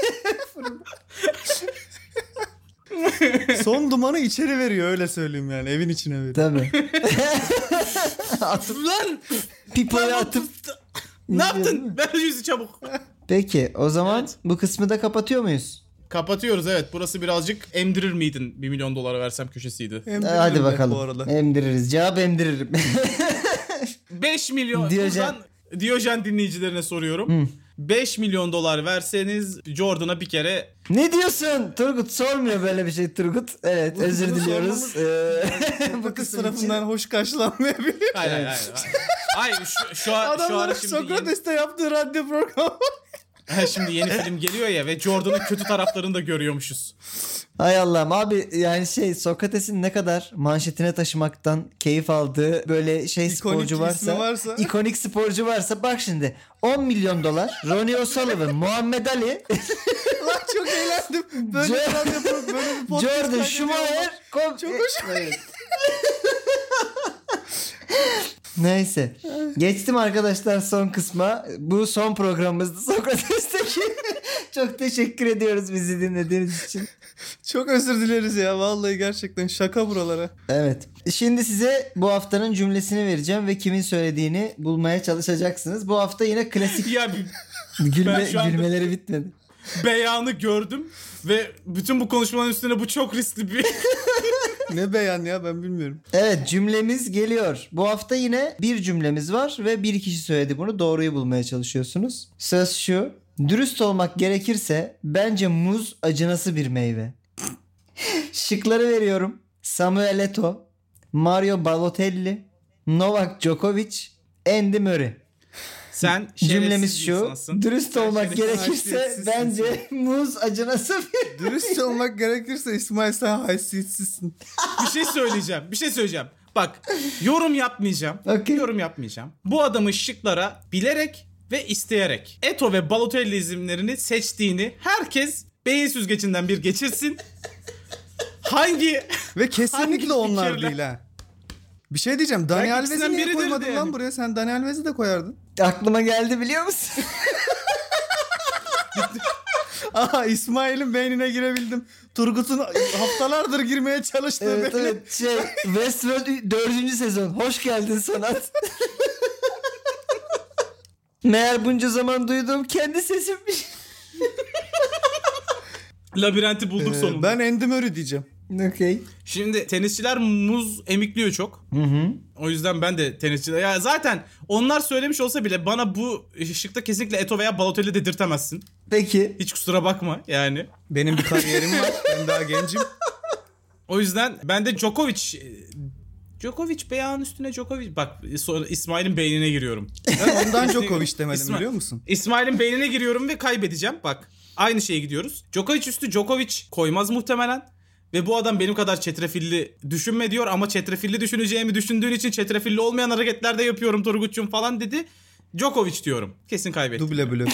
son dumanı içeri veriyor öyle söyleyeyim yani evin içine veriyor. Tabii. Lan! Pipoyu atıp. ne yaptın? Ver yüzü çabuk. Peki o zaman bu kısmı da kapatıyor muyuz? Kapatıyoruz evet. Burası birazcık emdirir miydin 1 milyon dolara versem köşesiydi. Ee, Emdiririm Hadi de bakalım. Bu arada. Emdiririz. Cevap emdiririm. 5 milyon Diyojen. buradan Diyojen dinleyicilerine soruyorum. 5 milyon dolar verseniz Jordan'a bir kere ne diyorsun? Turgut sormuyor böyle bir şey Turgut. Evet özür bunu diliyoruz. Ee, bu Bu kız kısım için. tarafından hoş karşılanmayabilir. Hayır hayır hayır. hayır. Hayır şu, şu, an- şu Adamların ara şimdi yeni, Sokrates'te yaptığı radyo programı. Ha, şimdi yeni film geliyor ya ve Jordan'ın kötü taraflarını da görüyormuşuz. Hay Allah'ım abi yani şey Sokrates'in ne kadar manşetine taşımaktan keyif aldığı böyle şey İkonik sporcu bir ismi varsa, varsa. ikonik sporcu varsa bak şimdi 10 milyon dolar Ronnie O'Sullivan, Muhammed Ali, Lan çok eğlendim. Böyle bir Jo- radyo programı, böyle bir podcast Jordan kaydediyor. Schumacher. kom- Çok hoş. Evet. Neyse. Geçtim arkadaşlar son kısma. Bu son programımızdı Sokrates'teki Çok teşekkür ediyoruz bizi dinlediğiniz için. Çok özür dileriz ya vallahi gerçekten şaka buralara. Evet. Şimdi size bu haftanın cümlesini vereceğim ve kimin söylediğini bulmaya çalışacaksınız. Bu hafta yine klasik Ya bir gülme, şu anda- gülmeleri bitmedi. beyanı gördüm ve bütün bu konuşmanın üstüne bu çok riskli bir Ne beyan ya ben bilmiyorum. Evet cümlemiz geliyor. Bu hafta yine bir cümlemiz var ve bir kişi söyledi bunu. Doğruyu bulmaya çalışıyorsunuz. Söz şu. Dürüst olmak gerekirse bence muz acınası bir meyve. Şıkları veriyorum. Samuel Eto, Mario Balotelli, Novak Djokovic, Andy Murray. Sen Cümlemiz şerefsiz bir şu. insansın. Dürüst olmak şerefsiz, gerekirse haysiyetsiz bence muz acınası bir Dürüst olmak gerekirse İsmail sen haysiyetsizsin. bir şey söyleyeceğim. Bir şey söyleyeceğim. Bak yorum yapmayacağım. Okey. Yorum yapmayacağım. Bu adamın şıklara bilerek ve isteyerek Eto ve Balotelli isimlerini seçtiğini herkes beyin süzgecinden bir geçirsin. Hangi Ve kesinlikle Hangi onlar fikirle? değil ha. Bir şey diyeceğim. Dani Belki Alves'i ikisinden niye biridir koymadın de lan yani. buraya? Sen Dani Alves'i de koyardın. aklıma geldi biliyor musun? Aha İsmail'in beynine girebildim. Turgut'un haftalardır girmeye çalıştığı evet beyne. evet şey Westworld 4. sezon hoş geldin sanat. Meğer bunca zaman duyduğum kendi sesimmiş. labirenti bulduk Ee, sonunda? ben Andy Murray diyeceğim. Okey. Şimdi tenisçiler muz emikliyor çok. Hı hı. O yüzden ben de tenisçiler. Ya zaten onlar söylemiş olsa bile bana bu şıkta kesinlikle Eto veya Balotelli dedirtemezsin. Peki. Hiç kusura bakma yani. Benim bir kariyerim var. Ben daha gencim. O yüzden ben de Djokovic Djokovic beyanın üstüne Djokovic bak sonra İsmail'in beynine giriyorum. Ben ondan Djokovic demedim İsmail. biliyor musun? İsmail'in beynine giriyorum ve kaybedeceğim bak. Aynı şeye gidiyoruz. Djokovic üstü Djokovic koymaz muhtemelen. Ve bu adam benim kadar çetrefilli düşünme diyor ama çetrefilli düşüneceğimi düşündüğün için çetrefilli olmayan hareketler de yapıyorum Turgut'cum falan dedi. Djokovic diyorum. Kesin kaybettim. Duble blok.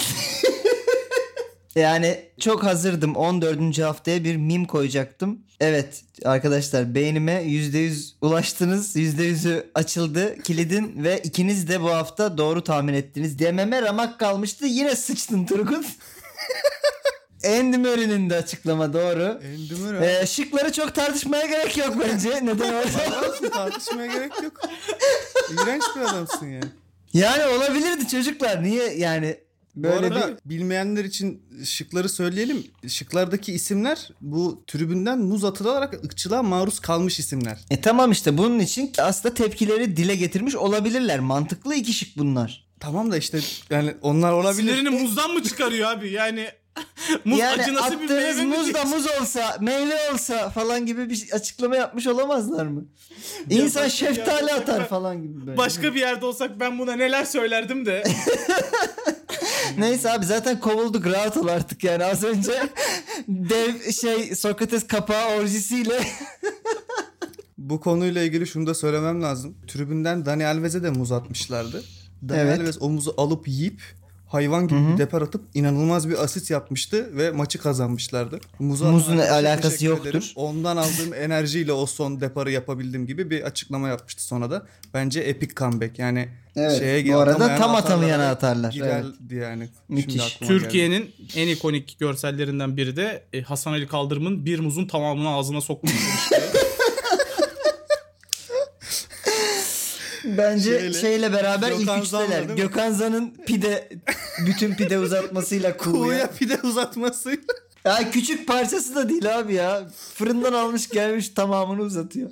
Yani çok hazırdım. 14. haftaya bir mim koyacaktım. Evet arkadaşlar beynime %100 ulaştınız. %100'ü açıldı kilidin ve ikiniz de bu hafta doğru tahmin ettiniz. Dememe ramak kalmıştı. Yine sıçtın Turgut. Andy Murray'nin de açıklama doğru. Andy Murray. Ee, şıkları çok tartışmaya gerek yok bence. Neden olsa. Olsun, tartışmaya gerek yok. İğrenç bir adamsın yani. Yani olabilirdi çocuklar. Niye yani Böyle Bu böyle arada bir... bilmeyenler için şıkları söyleyelim. Şıklardaki isimler bu tribünden muz atılarak ırkçılığa maruz kalmış isimler. E tamam işte bunun için aslında tepkileri dile getirmiş olabilirler. Mantıklı iki şık bunlar. Tamam da işte yani onlar olabilir. Sinirini muzdan mı çıkarıyor abi? Yani muz yani acınası bir attığınız meyve mi muz da diyeceksin? muz olsa, meyve olsa falan gibi bir şey- açıklama yapmış olamazlar mı? İnsan başka şeftali bir yer- atar falan gibi böyle. Başka bir yerde olsak ben buna neler söylerdim de. Neyse abi zaten kovulduk rahat ol artık yani az önce dev şey Sokrates kapağı orjisiyle Bu konuyla ilgili şunu da söylemem lazım. Tribünden Dani Alves'e de muz atmışlardı. Dani Evet. Alves o muzu alıp yiyip hayvan gibi bir depar atıp inanılmaz bir asit yapmıştı ve maçı kazanmışlardı. Muzu atan Muzun arkadaşa alakası teşekkür yoktur. ederim. Ondan aldığım enerjiyle o son deparı yapabildim gibi bir açıklama yapmıştı sonra da. Bence epic comeback. Yani Evet, şeye bu arada atamayan tam atamayana atarlara atarlar. Girerdi yani. Şimdi Müthiş. aklıma geldi. Türkiye'nin en ikonik görsellerinden biri de e, Hasan Ali Kaldırım'ın bir muzun tamamını ağzına sokması. bence Şeyle- şeyle beraber Gökhan ilk Zan'la üçteler. değil mi? Gökhan Zan'ın pide bütün pide uzatmasıyla kuğuya. Kuğuya pide uzatmasıyla. Ya küçük parçası da değil abi ya. Fırından almış gelmiş tamamını uzatıyor.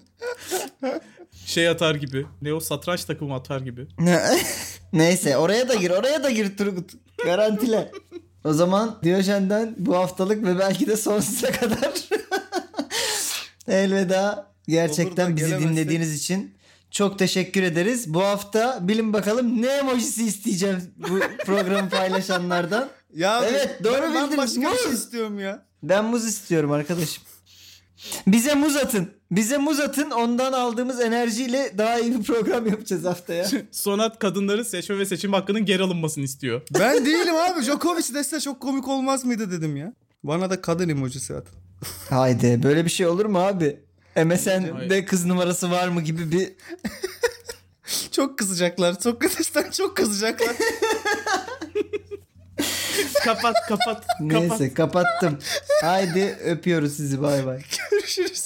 şey atar gibi. Ne o satranç takımı atar gibi. Neyse oraya da gir oraya da gir Turgut. Garantile. O zaman Diyojen'den bu haftalık ve belki de sonsuza kadar elveda. Olur da Gerçekten bizi gelemezsek. dinlediğiniz için çok teşekkür ederiz. Bu hafta bilin bakalım ne emojisi isteyeceğim bu programı paylaşanlardan. Ya Evet, doğru ben bildiniz. başka bir şey Muz. istiyorum ya. Ben muz istiyorum arkadaşım. Bize muz atın. Bize muz atın. Ondan aldığımız enerjiyle daha iyi bir program yapacağız haftaya. Sonat kadınların seçme ve seçim hakkının geri alınmasını istiyor. Ben değilim abi. Djokovic dese çok komik olmaz mıydı dedim ya. Bana da kadın emojisi at. Haydi böyle bir şey olur mu abi? MSN'de kız numarası var mı gibi bir Çok kızacaklar. Çok kızacaklar. Çok kızacaklar. kapat kapat. kapat. Neyse kapattım. Haydi öpüyoruz sizi bay bay. Görüşürüz.